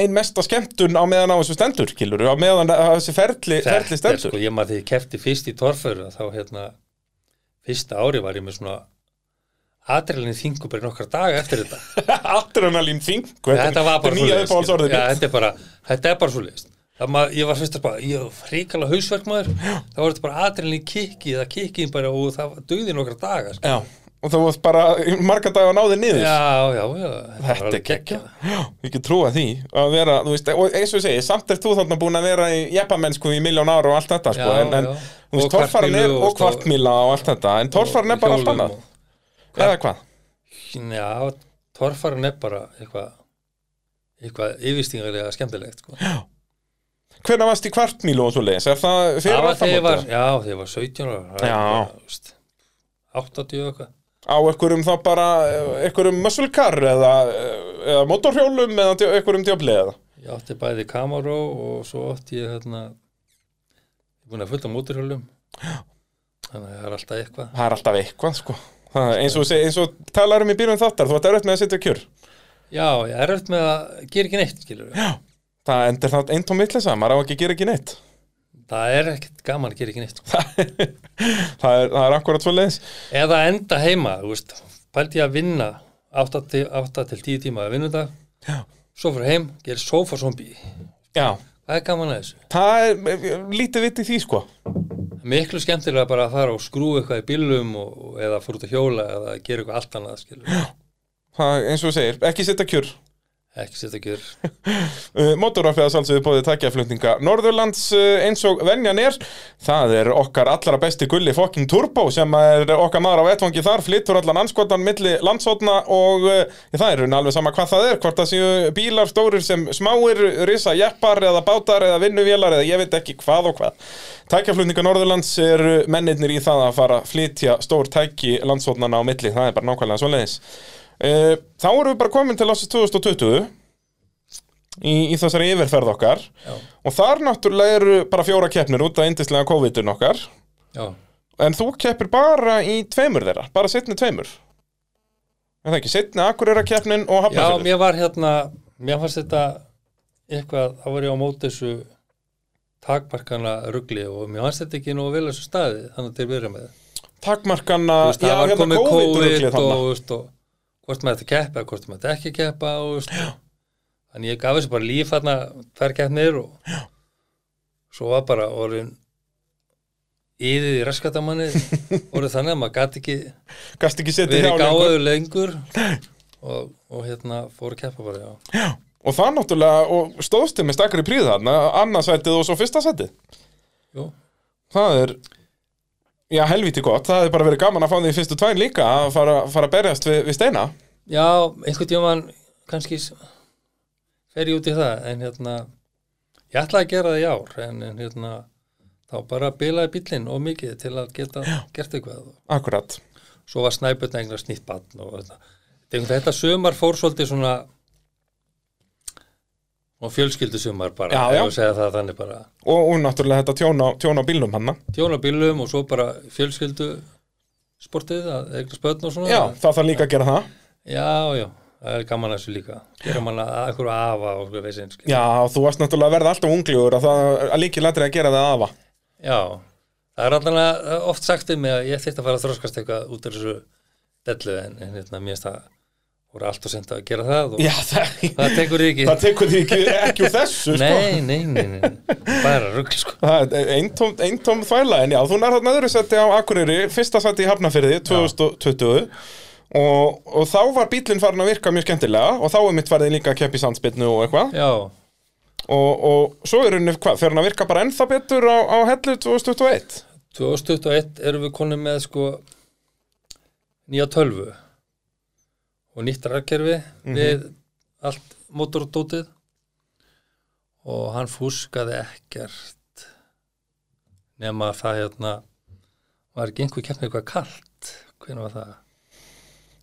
Speaker 1: ein mesta skemmtun á meðan á þessu stendur, kilur, á meðan á þessu ferli, ferli
Speaker 2: þetta er
Speaker 1: stendur.
Speaker 2: sko, ég maður þegar ég kefti fyrst í torfur þá hérna, fyrsta ári var ég með svona adrelinni þingur bara í nokkra daga eftir
Speaker 1: (laughs)
Speaker 2: þetta
Speaker 1: (laughs) Adrenalín þing.
Speaker 2: þetta var bara
Speaker 1: nýja
Speaker 2: svoleiðis,
Speaker 1: uppáhaldsorðið
Speaker 2: já,
Speaker 1: mitt.
Speaker 2: þetta er bara, þetta er bara svo leiðist maður, ég var fyrst að spá, ég var fríkala hausverk maður, þá var þetta bara adrelinni kikki eða kikkiðin bara og það döði nokkra daga sko.
Speaker 1: Já, og þú varst bara í marga daga náðið niður.
Speaker 2: já, já, já, var
Speaker 1: Þetta er
Speaker 2: alveg
Speaker 1: geggja.
Speaker 2: geggjað.
Speaker 1: Já, ég get trúa því að vera, þú veist, og eins og ég segi, samt er þú þarna búin að vera í jeppamennsku í miljón ára og allt þetta, sko,
Speaker 2: Já,
Speaker 1: en, en
Speaker 2: já.
Speaker 1: þú veist,
Speaker 2: Og
Speaker 1: torfaran er,
Speaker 2: kvartmýlu og
Speaker 1: og
Speaker 2: stá-
Speaker 1: kvartmíla og allt þetta, en torfaran er bara allt
Speaker 2: hjólum
Speaker 1: annað,
Speaker 2: og-
Speaker 1: eða hvað?
Speaker 2: Já, torfarinn er bara eitthvað eitthvað yfirstingarlega skemmtilegt sko.
Speaker 1: Hvernig varst í kvartmílu og svo leiðis, er það
Speaker 2: það
Speaker 1: fyrir
Speaker 2: var þegar ég var,
Speaker 1: aftamóta?
Speaker 2: já, þegar ég var 17 ára það er
Speaker 1: Já.
Speaker 2: bara, þú veist, 80 og eitthvað
Speaker 1: Á einhverjum þá bara, einhverjum muscle-car eða, eða motorhjólum eða djö- einhverjum djöfli eða?
Speaker 2: ég átti bæði Camaro og svo átti ég hérna ég er búin að fulla móturhjólum þannig að það er alltaf eitthvað
Speaker 1: Það er alltaf eitthvað, sko. Það, eins og, þú segir- eins og talar um í byrjun þáttar, þú ert erfitt með að sitja kjur.
Speaker 2: já, ég er eftir með að gera ekki neitt skilur já.
Speaker 1: Það endur það eintóm vitleisa, maður á ekki að gera ekki neitt. (laughs)
Speaker 2: það er ekkert gaman að gera ekki neitt sko.
Speaker 1: það er, það er akkurat svo leiðis.
Speaker 2: eða enda heima, þú veist pældi ég að vinna 8 til, 8 til 10 tíma að vinna þetta
Speaker 1: Já.
Speaker 2: svo fyrir heim, gera sofa zombie
Speaker 1: Já,
Speaker 2: hvað er gaman að þessu?
Speaker 1: það er eh, lítið vitt í því sko
Speaker 2: miklu skemmtilega bara að fara og skrúa eitthvað í bílum og, og- eða fór út að hjóla eða gera eitthvað allt annað skilur
Speaker 1: það, er eins og þú segir, ekki setja kjur
Speaker 2: ekki setja gjör
Speaker 1: uh, Motorvarpiðas alls við bóðið tækjaflutninga Norðurlands uh, eins og venjan er það er okkar allra besti gulli fokking turbo sem er okkar maður á vettvangi þar flyttur allan anskotan milli landsotna og uh, það er raun alveg sama hvað það er hvort það séu bílar stórir sem smáir risa jeppar eða bátar eða vinnuvélar eða ég veit ekki hvað og hvað Tækjaflutninga Norðurlands eru mennirnir í það að fara að flytja stór tæki landsotnana á milli, það er bara nákvæmlega svoleiðis Uh, Þá erum við bara komin til ásins 2020 í, í þessari yfirferð okkar
Speaker 2: já,
Speaker 1: og þar náttúrulega eru bara fjóra keppnir út af indislega COVID-un okkar
Speaker 2: já,
Speaker 1: en þú keppir bara í tveimur þeirra, bara setni tveimur en það ekki, setni Akureyra keppnin og
Speaker 2: já
Speaker 1: Hafnarfjörður
Speaker 2: mér var hérna mér fannst þetta eitthvað þá var ég á móti þessu takparkana rugli og mér fannst þetta ekki nógu vel að þessu staði þannig til að byrja með
Speaker 1: takmarkana,
Speaker 2: Þú veist,
Speaker 1: já,
Speaker 2: það var
Speaker 1: hérna
Speaker 2: komið COVID
Speaker 1: COVID-ruglið
Speaker 2: og,
Speaker 1: þarna
Speaker 2: þú veist, og hvort maður þetta keppa hvort maður þetta ekki keppa og, þú veist. þannig ég gaf þessu bara líf þarna tvær keppnir og Já. svo var bara orðin yðið í raskatamanni
Speaker 1: (laughs)
Speaker 2: orðið þannig að maður gæti ekki
Speaker 1: gast ekki setið hjá sko.
Speaker 2: verið
Speaker 1: lengur. (laughs)
Speaker 2: gáðu lengur og, og hérna fór að keppa bara já.
Speaker 1: og það náttúrulega, og stóðstu með stakri príð þarna, annarsætið og svo fyrsta sætið
Speaker 2: Jú,
Speaker 1: það er já, helviti gott, það hefði bara verið gaman að fá því fyrstu tvæn líka að fara, fara að berjast við, við steina
Speaker 2: já, einhvern tímann kannski s- fer ég út í það en hérna ég ætlaði að gera það í ár en, en hérna þá bara bilaði bíllinn og mikið til að geta gert eitthvað
Speaker 1: akkurat,
Speaker 2: svo var snæpötna eignast nýtt batn og þetta, Þetta er einhvern- þetta sömar fór svolítið svona og fjölskyldu sömar bara
Speaker 1: Já,
Speaker 2: ef
Speaker 1: já.
Speaker 2: að segja það þannig bara
Speaker 1: og, og náttúrulega þetta tjón á, tjón á bílnum hann
Speaker 2: tjóna bílum og svo bara fjölskyldu sportið að eignast bötn og svona
Speaker 1: já, það þarf líka að gera það
Speaker 2: já, já, það er gaman að þessu líka gera manna að einhverju afa og einhverju veisinn skilur.
Speaker 1: já, þú varst náttúrulega að verða alltaf ungliður að, það- að líki latri að gera það afa
Speaker 2: Já, það er allan að oft sagt um mig að ég þyrfti að fara að þroskast eitthvað út af þessu dellu en, en hérna, mér finnst það voru allt og senda að gera það og
Speaker 1: já, það,
Speaker 2: það tekur þig
Speaker 1: það
Speaker 2: ekki.
Speaker 1: tekur því ekki, ekki úr þessu sko.
Speaker 2: Nei, nei, nei, nei, bara rugl sko.
Speaker 1: það er eintóm, eintóm þvæla en já, þú nærðar með öðru seti á Akureyri fyrsta seti í Hafnafyrði 2020 og, og þá var bílinn farin að virka mjög skemmtilega og þá er mitt farið líka að keppi sandspilnu og eitthvað
Speaker 2: Já,
Speaker 1: og, og svo er henni, hvað, fer hann að virka bara ennþá betur á, á hellu 2021
Speaker 2: 2021 erum við konum með sko nýja tölvu og nýtt rækkerfi
Speaker 1: Mhm.
Speaker 2: við allt mótordótið og hann fúskaði ekkert nema að það hérna var ekki einhver keppnið eitthvað kalt hvernig var það?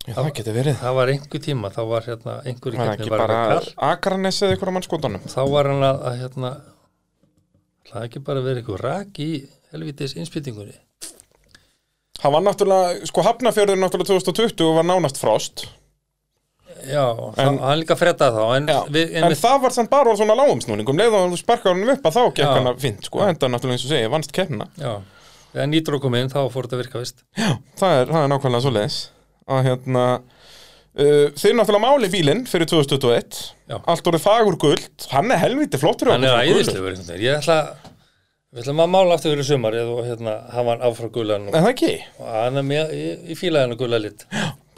Speaker 1: Já, það getur verið.
Speaker 2: Það var einhver tíma, þá var hérna einhver
Speaker 1: Það er ekki bara Akranes eða ykkur á mannskotanum.
Speaker 2: Þá var hann að, að hérna Það ekki bara verið eitthvað rak í helvitis innspýtingunni
Speaker 1: Hann var náttúrulega, sko Hafnafjörður náttúrulega 2020 og var nánast frost.
Speaker 2: Já, en, hann líka fretta þá En,
Speaker 1: Já,
Speaker 2: við,
Speaker 1: en, það var samt bara á svona lágum snúningum, leið og þú sparkar hann upp að þá gekk
Speaker 2: Já.
Speaker 1: hann að fint, sko, enda náttúrulega eins og segja, vannst keppna.
Speaker 2: Já, þegar nýtrú kom inn þá fór þetta að virka vist
Speaker 1: Það er, það er nákvæmlega svo leiðis. Að hérna, uh, þeir náttúrulega máli bílinn fyrir 2021,
Speaker 2: Já.
Speaker 1: allt orðið fagur guld, hann er helviti flottur. hjá
Speaker 2: Hann er
Speaker 1: okkur, sko, gulur.
Speaker 2: æðislegur einhvern veginn Ég ætla, við ætlum að mála aftur fyrir sumar eða hérna, hafa hann áfra gulan og
Speaker 1: Er það ekki?
Speaker 2: og hann er með í, í fílaðinu gula lit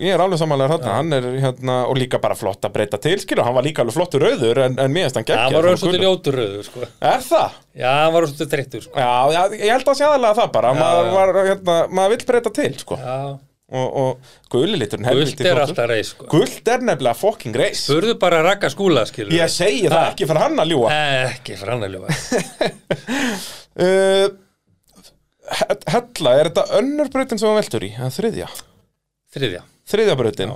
Speaker 1: Ég er alveg samanlega þarna, hann er hérna, og líka bara flott að breyta til, skilur, hann var líka alveg flottur auður, en, en mér finnst hann geggja.
Speaker 2: Hann var rauð svolítið ljótur rauður sko.
Speaker 1: Er það?
Speaker 2: Já, hann var rauð svolítið þreyttur sko.
Speaker 1: Já, já, ég held að sé aðalega það bara, maður,
Speaker 2: já.
Speaker 1: Var, hérna, maður vill breyta til, sko.
Speaker 2: Já,
Speaker 1: Og, og guliliturinn
Speaker 2: gult er alltaf reis sko.
Speaker 1: Guld er nefnilega fucking reis.
Speaker 2: Spurðu bara að rakka skúla skilur
Speaker 1: Ég segi það
Speaker 2: Ha.
Speaker 1: ekki fyrir hann að ljúa.
Speaker 2: Ekki frannarlega
Speaker 1: Uh, he- hella, er þetta önnur breytin sem hann veltur í? Eða Þriðja?
Speaker 2: Þriðja,
Speaker 1: Þriðja breytin.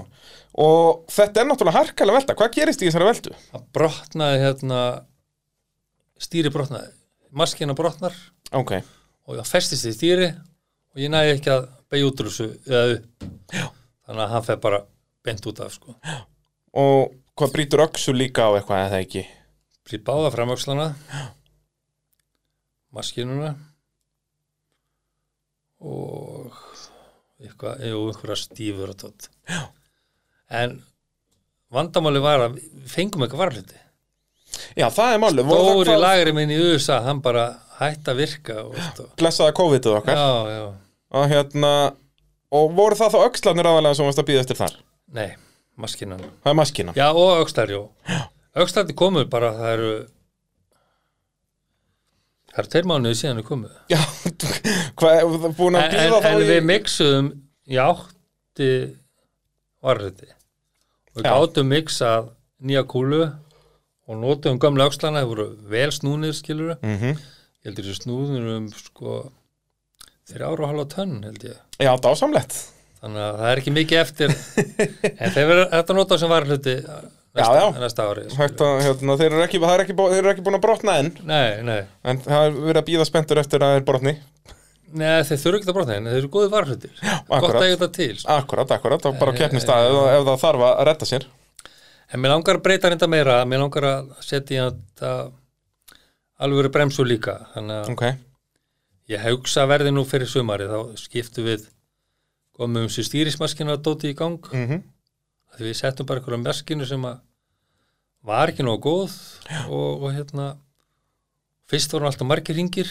Speaker 1: Og þetta er náttúrulega harkalega velta. Hvað gerist í þessari veltu?
Speaker 2: hann brotnaði hérna stýri brotnaði maskina brotnar
Speaker 1: Ok.
Speaker 2: og það festist í stýri og ég næði ekki að beigja út úr þessu eða upp þannig að hann fer bara bent út af sko
Speaker 1: Og hvað brýtur öxu líka á eitthvað eða ekki?
Speaker 2: Brýt báða framöxlana maskinuna og eitthvað, jú, einhverja stífur og tótt en vandamáli var að við fengum eitthvað varluti
Speaker 1: Já, það er málið. Voru það
Speaker 2: Dóri
Speaker 1: hvað-
Speaker 2: lagri minn í USA, hann bara hætti að virka og, veist, og,
Speaker 1: Blessaða COVID-ið okkar.
Speaker 2: Já, já,
Speaker 1: Og hérna, og voru það þá öxlanir aðalega sem varst að býða eftir þar?
Speaker 2: nei, maskinan
Speaker 1: Það er maskina.
Speaker 2: Já, og öxlar, jú Öxlarni komu bara, það eru Það eru tveir mánuði síðan þau komu
Speaker 1: Já, hvað, búin að
Speaker 2: En, en,
Speaker 1: býða þá
Speaker 2: en
Speaker 1: í...
Speaker 2: við miksuðum í átti varriti og við
Speaker 1: Já.
Speaker 2: gátum miksað nýja kúlu og notuðum gamla öxlana, það voru vel snúnir skilur
Speaker 1: Mm
Speaker 2: ég heldur þessu snúnir um sko þrjára og halva tönn held ég
Speaker 1: Já, dásamlegt.
Speaker 2: þannig að það er ekki mikið
Speaker 1: (laughs)
Speaker 2: eftir en þeir verða þetta nota sem varluti næsta,
Speaker 1: Já, já.
Speaker 2: næsta ári skilurðu.
Speaker 1: Hægt að, hérna, þeir eru ekki, það er ekki, bú- þeir eru ekki búin að brotna enn,
Speaker 2: nei, nei,
Speaker 1: en það er verið að býða spenntur eftir að þeir brotni.
Speaker 2: nei, þeir þurfa ekki að brotna en þeir eru góði varlutir gott
Speaker 1: akkurat.
Speaker 2: að eiga þetta til sko.
Speaker 1: Akkurat, akkurat, og
Speaker 2: Eh,
Speaker 1: bara keppnist að ef, ef það þarf að redda sér.
Speaker 2: en mér langar að breyta reynda meira mér langar að setja í þetta alvöru bremsu líka þannig að
Speaker 1: Ok,
Speaker 2: ég hugsa verði nú fyrir sumari þá skiptum við komum sér stýrismaskina að dóti í gang
Speaker 1: mm
Speaker 2: að við settum bara einhverja merkinu sem að var ekki nógu góð og, og hérna fyrst voru alltaf margir ringir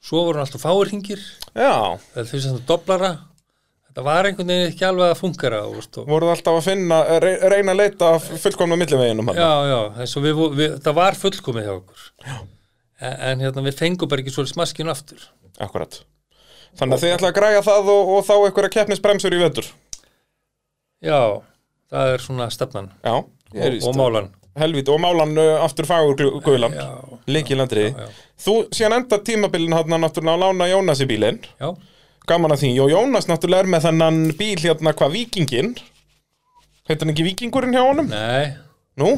Speaker 2: svo voru alltaf fáir ringir
Speaker 1: já,
Speaker 2: eða fyrst þetta doblara þetta var einhvern veginn ekki alveg að fungera og, veist, og,
Speaker 1: voruð alltaf að finna, re- reyna að leita að fullkomna milliveginum hann.
Speaker 2: já, já, eins og við, vo- við, það var fullkomið hjá okkur en, en hérna við fengum bara ekki svolítið smaskinu aftur
Speaker 1: Akkurat. Þannig að þið ætla að græja það og, og þá einhverja keppnisbremsur í vetur.
Speaker 2: já, það er svona stefnan
Speaker 1: Já, ég er
Speaker 2: og, og málan
Speaker 1: Helvít, og málan uh, aftur fagur gu- gulan.
Speaker 2: já,
Speaker 1: Leikilandri.
Speaker 2: já, já.
Speaker 1: Þú síðan enda tímabilin hann náttúrulega að lána Jónas í bílinn.
Speaker 2: já,
Speaker 1: Gaman að því. Og Jónas náttúrulega er með þennan bíl hérna hvað vikinginn. Heitir hann ekki vikingurinn hjá honum?
Speaker 2: nei
Speaker 1: Nú?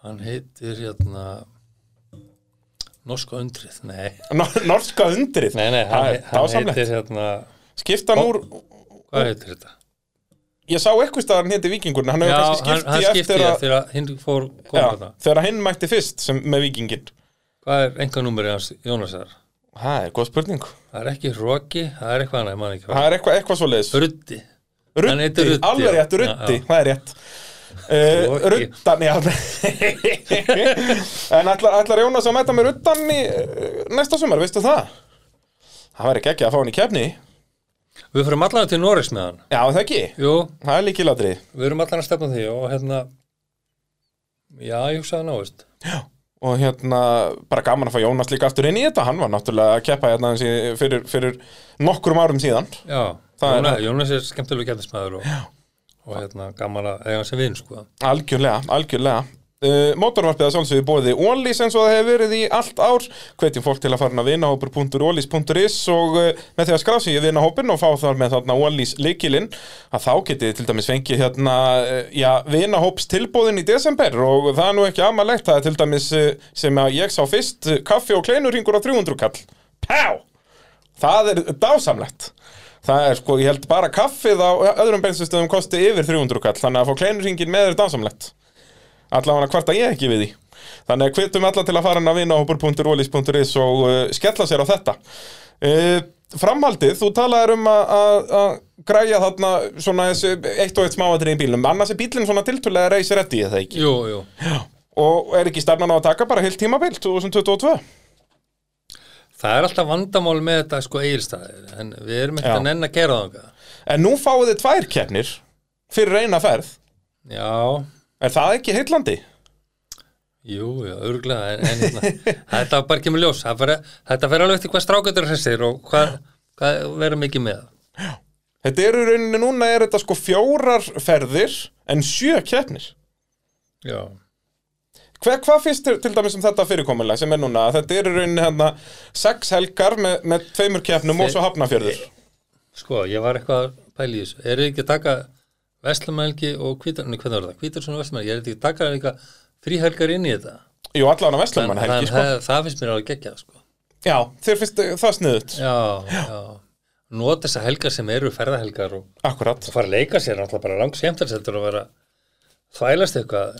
Speaker 2: hann heitir hérna Norska undrið, nei
Speaker 1: Nor- Norska undrið.
Speaker 2: Nei, nei, hann,
Speaker 1: Það er
Speaker 2: hei- hann
Speaker 1: dásamlegt.
Speaker 2: heitir hérna
Speaker 1: Skipta hann úr...
Speaker 2: Hvað heitir þetta?
Speaker 1: Ég sá eitthvað staðar hann heiti vikingurinn. Hann
Speaker 2: Já,
Speaker 1: hefur kannski
Speaker 2: hann,
Speaker 1: skipt
Speaker 2: hann
Speaker 1: í
Speaker 2: skipti
Speaker 1: eftir
Speaker 2: ég
Speaker 1: að...
Speaker 2: eftir að hinn fór
Speaker 1: Já,
Speaker 2: koma þetta
Speaker 1: þegar hinn mætti fyrst sem, með vikinginn.
Speaker 2: Hvað er enga númerið hans Jónasar?
Speaker 1: Það er góð spurning.
Speaker 2: Það er ekki Roki, það er eitthvað annað, ég man ekki hvað
Speaker 1: Það er eitthvað, eitthvað svo leiðis.
Speaker 2: Ruddi, Hann
Speaker 1: Rutti,
Speaker 2: heitir Ruddi,
Speaker 1: alveg
Speaker 2: já.
Speaker 1: rétt, Rutti,
Speaker 2: Já, já.
Speaker 1: það er rétt uh,
Speaker 2: Loki.
Speaker 1: Ruttan, já (laughs) En ætlar, ætlar Jónas að mæta með Ruttan í eh, næsta sumar, veistu það? Það væri ekki að fá hann í kefni Já,
Speaker 2: við fyrir allan til Noregs með hann
Speaker 1: það ekki,
Speaker 2: Jú,
Speaker 1: það er líkilatri
Speaker 2: við erum allan að stefna því og hérna Já, ég hugsa það náist
Speaker 1: Og hérna, bara gaman að fá Jónas líka aftur inn í þetta Hann var náttúrulega að keppa hérna aðeins í- fyrir, fyrir nokkrum árum síðan
Speaker 2: Já,
Speaker 1: Það er
Speaker 2: Jónas
Speaker 1: það.
Speaker 2: er, Jónas er skemmtilega gættismæður og, og hérna gaman að eiga hann sem vinn sko
Speaker 1: Algjörlega, algjörlega Uh, Mótorvarpið að sjálfsögðu bóði Ólís eins og það hefur verið í allt ár hvetjum fólk til að fara inn að vinahópur.ólís.is og uh, með því að skrá sig í vinahópin og fá þar með þarna Ólís leikilinn að þá getið þið til dæmis fengið hérna, uh, já, vinahóps í desember og það er nú ekki amalegt það er til dæmis uh, sem að ég sá fyrst uh, kaffi og kleinurringur á 300 kall Pá! Það er dásamlegt Það er sko, ég held bara kaffið á öðrum bensinstöðum kosti yfir 300 kall þannig að fá kleinurringin með er dásamlegt allavega kvarta ég ekki við því þannig að hvetum alla til að fara inn á vinahópur.rolis.is og uh, skella sér á þetta uh, framhaldið, þú talaðir um að- að að græja þarna svona þessi eitt og eitt smáatrið í bílnum annars er bílinn svona tiltölulega reysir etti eða ekki
Speaker 2: Jú, jú.
Speaker 1: og er ekki stefnan á að taka bara heilt tímabil 2022
Speaker 2: Það er alltaf vandamál með þetta sko eigilstaðir en við erum ekkert
Speaker 1: Já.
Speaker 2: að nenn að gera það
Speaker 1: en nú fáið þið tvær kernir fyrir eina ferð
Speaker 2: Já,
Speaker 1: er það ekki heillandi?
Speaker 2: jú, já, örgulega en, en hérna, þetta var bara ekki með ljós Það fer- þetta fer alveg eftir hvað strákættur hressir og hvað, hvað vera mikið með
Speaker 1: Þetta eru í rauninni núna er þetta sko fjórar ferðir en sjö keppnir
Speaker 2: Já,
Speaker 1: Hva, hvað finnst þér til dæmis um þetta fyrirkomulega sem er núna? að Þetta eru í rauninni hérna sex helgar með, með tveimur keppnum og svo hafnafjörður.
Speaker 2: sko, ég var eitthvað að pæla í þessu Eru þið ekki að taka Vestlumælgi og Hvítar, nei, hvernig var það? Hvítarsson og Vestlumælgi, eru þið ekki að taka eitthvað fríhelgar inn í þetta?
Speaker 1: Jú, allan á Vestlumann
Speaker 2: Þann-
Speaker 1: helgi,
Speaker 2: þann-
Speaker 1: sko.
Speaker 2: það, það finnst mér alveg geggjað, sko
Speaker 1: Já, þér finnst það sniðut.
Speaker 2: Já, já Nóta þessar helgar sem eru ferðahelgar og
Speaker 1: Akkurat.
Speaker 2: og fara að leika sér náttúrulega bara langt skemmtarsettur og vera þvælast eitthvað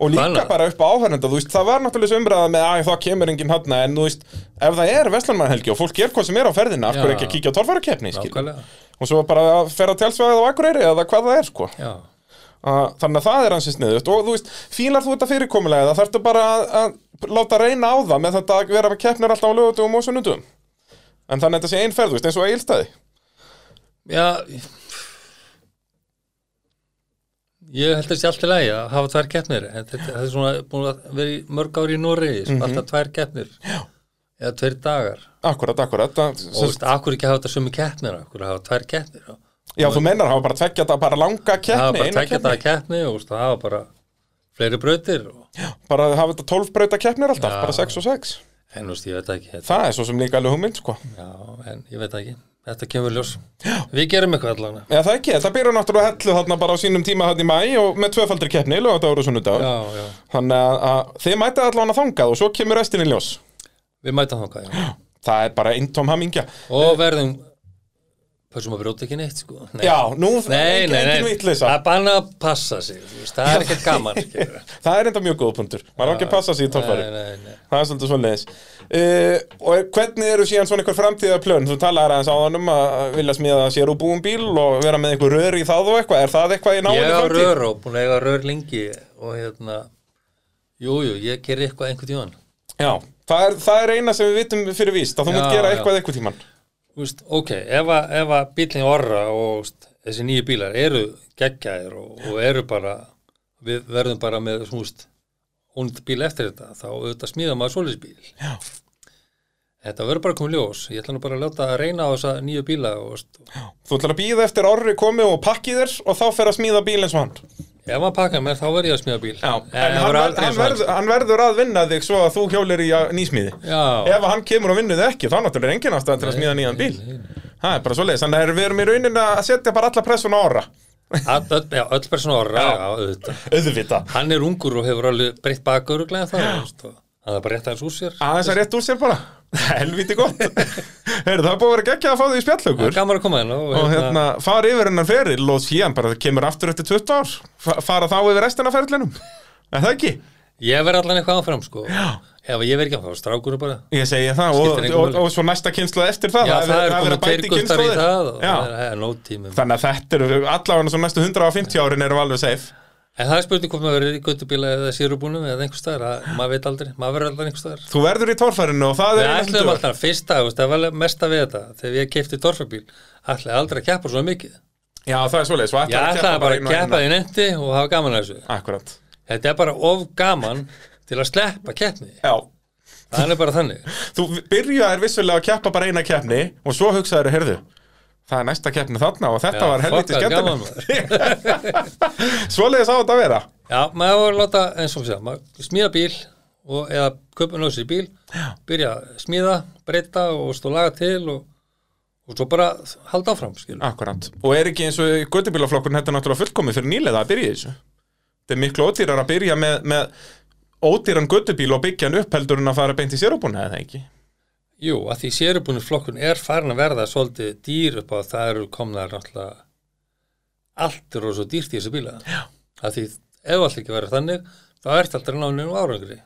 Speaker 1: Og líka
Speaker 2: Þannig.
Speaker 1: bara upp á áhörnenda, þú veist, það var náttúrulega þessu umræða með að það kemur enginn hafna, en þú veist, ef það er Vestlumann helgi og fólk er hvað sem er á ferðina, af
Speaker 2: Já.
Speaker 1: hverju ekki að kíkja á torfærakeppni, skil.
Speaker 2: nákvæmlega
Speaker 1: Og svo bara að ferða tjálsvæðið á Akureyri eða hvað það er, sko.
Speaker 2: já.
Speaker 1: Uh, þannig að það er hansi sniðut og þú veist, fílar þú þetta fyrirkomulega það þarftu bara að, að láta reyna á það með þetta að vera með keppnir alltaf á lögutum og sunnudum en þannig að þetta sé ein ferð, þú veist, eins og eigilstæði
Speaker 2: já ég held að sé allt í lagi að hafa tvær keppnir en þetta, þetta er svona búin að vera í mörg ári í Noregi
Speaker 1: Mhm.
Speaker 2: mm alltaf tvær keppnir já. eða tveir dagar
Speaker 1: Akkurat, akkurat að,
Speaker 2: og þú veist, akkur ekki hafa þetta sömu keppnir akkur hafa tvær keppnir og
Speaker 1: Já, þú mennar að hafa bara tveggja þetta bara langa
Speaker 2: hafa
Speaker 1: keppni,
Speaker 2: bara
Speaker 1: eina
Speaker 2: tvekja
Speaker 1: keppni
Speaker 2: dagar keppni og þú veist, hafa bara fleiri brautir og,
Speaker 1: bara hafa þetta 12 brauta keppnir alltaf,
Speaker 2: Já.
Speaker 1: bara 6 og 6
Speaker 2: en þú veist, ég veit það ekki þetta,
Speaker 1: það er svo sem líka alveg hugmynd, sko
Speaker 2: já, en ég veit það ekki þetta kemur í ljós við gerum eitthvað allan
Speaker 1: Já, það ekki, þetta byrjar náttúrulega hellu þarna bara á sínum tíma þarna í mæ og með tvöfaldri keppni, lögadagur og sunnudagur
Speaker 2: já, já
Speaker 1: Þannig að, að þið mætið allan að þangað og svo kemur restin í ljós
Speaker 2: Við mætum þangað, já.
Speaker 1: Það er bara eintóm hamingja
Speaker 2: Og verðum, passum að brjóta ekki neitt, sko. Nei.
Speaker 1: Já, nú,
Speaker 2: Nei,
Speaker 1: engin,
Speaker 2: nei,
Speaker 1: engin
Speaker 2: nei,
Speaker 1: vitleysa.
Speaker 2: það er bara að passa sig, þú veist, það er ekkert
Speaker 1: (laughs)
Speaker 2: gaman, skilur.
Speaker 1: Það er enda mjög góð punktur, maður á ekki að passa sig í
Speaker 2: Nei,
Speaker 1: torfæri
Speaker 2: nei, nei.
Speaker 1: Það er svolítið svoleiðis uh, Og hvernig eru síðan svona einhver framtíða plön? Þú talaðir aðeins áðan um að vilja smíða sér úr búum bíl og vera með einhver rör í það og eitthvað Er það eitthvað í náinni
Speaker 2: Ég á
Speaker 1: framtíð?
Speaker 2: rör og búin að eiga rör lengi og hérna, jú, jú, ég gerir eitthvað einhvern tíðan.
Speaker 1: Já, það er, það er eina sem við vitum fyrir víst að þú
Speaker 2: Já,
Speaker 1: munt gera
Speaker 2: já.
Speaker 1: eitthvað eitthvað tíman
Speaker 2: Þú veist, ok, ef að, ef að bílinn orra og þú veist, þessi nýju bílar eru geggjaðir og, og eru bara, við verðum bara með, þú veist, ónd bíl eftir þetta, þá auðvitað smíða maður svoleiðis bíl. Já. Þetta verður bara komið ljós. Ég ætla nú bara að láta að reyna á þessa nýju bíla og, þú veist,
Speaker 1: Þú ætlar að býða eftir orri komi og pakki þér og þá fer að smíða bíl eins og hann
Speaker 2: ef maður pakka mér, þá verð ég að smíða bíl. Já, en,
Speaker 1: En
Speaker 2: það
Speaker 1: hann,
Speaker 2: verður
Speaker 1: ver,
Speaker 2: aldrei
Speaker 1: hann,
Speaker 2: eins og hans.
Speaker 1: verð, hann verður að vinna þig svo að þú hjólir í að- nýsmíði
Speaker 2: Já.
Speaker 1: Ef hann kemur og vinnur þig ekki, þá náttúrulega er engin ástæðan til að smíða nýjan bíl Það er bara svoleiðis, þannig að við erum í rauninni að setja bara alla pressun á orra
Speaker 2: All, öll, já, öll persónu orra, já, auðvitað.
Speaker 1: Auðvitað
Speaker 2: Hann er ungur og hefur alveg breytt bakuruglega það, þú veist, og það er bara rétt aðeins úr sér.
Speaker 1: Aðeins að rétt úr sér bara (laughs) Helvíti gott (laughs) Heyrðu, það er búið að vera geggja að fá þig í
Speaker 2: Það er
Speaker 1: spjallökur
Speaker 2: gaman að koma hérna og,
Speaker 1: Og hérna, fara yfir hennar feril og síðan bara það kemur aftur eftir 20 ár Fa- Fara þá yfir restina af ferlinum Er það ekki?
Speaker 2: Ég verð allan eitthvað áfram sko Ef ég verð ekki áfram, strákur er bara
Speaker 1: Ég segi það og,
Speaker 2: Skiptir engu
Speaker 1: og,
Speaker 2: máli.
Speaker 1: og svo næsta kynsluð eftir það
Speaker 2: Já, það,
Speaker 1: verið- verið
Speaker 2: er komið
Speaker 1: að bæta
Speaker 2: tveir guttar í
Speaker 1: kynslóðir.
Speaker 2: það og
Speaker 1: Já.
Speaker 2: það er- það er nóg tími
Speaker 1: Þannig að þetta eru allavega svo næstu 150 árin erum við alveg safe
Speaker 2: En það er spurning hvort maður verður í guttubíla eða sérubúnum eða einhvers staðar, það- maður veit aldrei, maður verður allan einhvers staðar
Speaker 1: Þú verður í torfærinu og það
Speaker 2: Við
Speaker 1: er í næstu
Speaker 2: ætlum
Speaker 1: dögum.
Speaker 2: alltaf fyrsta, þú veist, það var mesta við þetta þegar ég keipti torfabíl, ætlaði aldrei að keppa svo mikið
Speaker 1: Já, það er svoleiðis og
Speaker 2: Ég
Speaker 1: ætlar að keppa
Speaker 2: ætlaði bara
Speaker 1: inn og inn
Speaker 2: að keppa
Speaker 1: og-
Speaker 2: í netti og hafa gaman að þessu
Speaker 1: Akkúrat.
Speaker 2: Þetta er bara of gaman til að sleppa keppni
Speaker 1: Já,
Speaker 2: Það er bara þannig
Speaker 1: þú byrjaðir vissulega að keppa bara eina keppni og svo hugsaður, heyrðu það er næsta keppni þarna og þetta
Speaker 2: Já,
Speaker 1: var helviti
Speaker 2: fuck, það er
Speaker 1: skemmtilegt (laughs) svoleiðis á þetta að vera
Speaker 2: Já, maður var að láta, eins og fyrir maður smíða bíl og, eða köpa nöðs í bíl, Já. byrja að smíða, breyta og stó laga til og, og svo bara halda áfram, skilur.
Speaker 1: Akkurat. Og er ekki eins og göttubílaflokkurinn þetta er náttúrulega fullkomið fyrir nýlega að byrja í þessu. Þetta er miklu ódýrar að byrja með, með ódýran göttubíl og byggja hann upp heldur en að fara beint í sérubúna eða ekki.
Speaker 2: Jú, að því sérubunni flokkun er farin að verða svolítið dýr upp á að það eru komnar náttúrulega allt er og svo dýrt í þessu bíla. Já. Að því ef allt ekki verður þannig, þá ert aldrei náðinu árangri.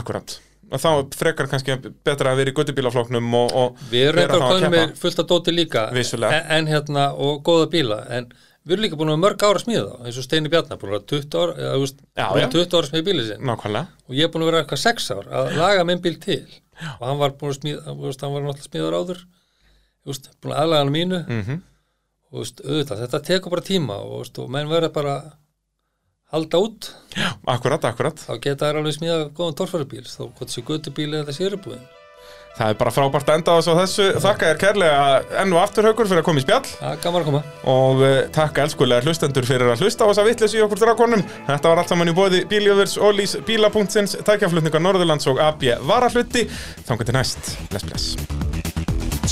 Speaker 1: Akkurat. Og Þá frekar kannski betra að vera í göttubílaflokknum og, og
Speaker 2: Við erum
Speaker 1: vera þá
Speaker 2: eitthvað
Speaker 1: að
Speaker 2: konum með
Speaker 1: keppa.
Speaker 2: fullt að dóti líka
Speaker 1: Vissulega.
Speaker 2: en, en hérna og góða bíla en við erum líka búin að vera mörg ára smíða þá eins og Steini Bjarnar búin að vera 20 ára eða, þú veist,
Speaker 1: Já,
Speaker 2: búin
Speaker 1: já.
Speaker 2: að 20 ára smíða bíli sinn
Speaker 1: Nákvæmlega.
Speaker 2: og ég er búin að vera eitthvað 6 ár að laga minn bíl til og hann var búin að smíða þú veist, hann var náttúrulega smíðar áður þú veist, búin að aðlaga hann að mínu
Speaker 1: Mm -hmm.
Speaker 2: og þú veist, auðvitað, þetta tekur bara tíma og, þú veist, og menn verða bara að halda út,
Speaker 1: Akkurat, akkurat.
Speaker 2: þá geta þær alveg smíða góðan torfarubíl, þá hvort sé götubíli eða sérubúðin.
Speaker 1: Það er bara frábært að enda á þessu og þessu.
Speaker 2: Mm.
Speaker 1: Þakka þér kærlega enn og aftur haukur fyrir að koma í spjall
Speaker 2: Það er gaman að koma.
Speaker 1: og eh, takk elskulega hlustendur fyrir að hlusta á þessa vittlis í okkur drakonum. Þetta var allt saman í bóði Bíljöfurs, Ólís, Bíla.sins, tækjaflutningar Norðurlands og AB Varahluti. Þangar til næst. Bless, bless.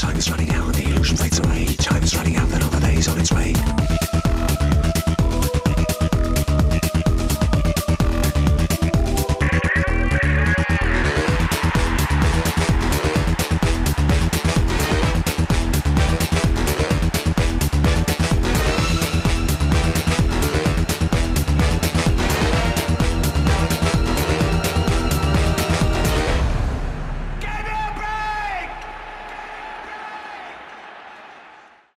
Speaker 3: Time is running out and the illusion fades away. Time is running out and all the days on its way.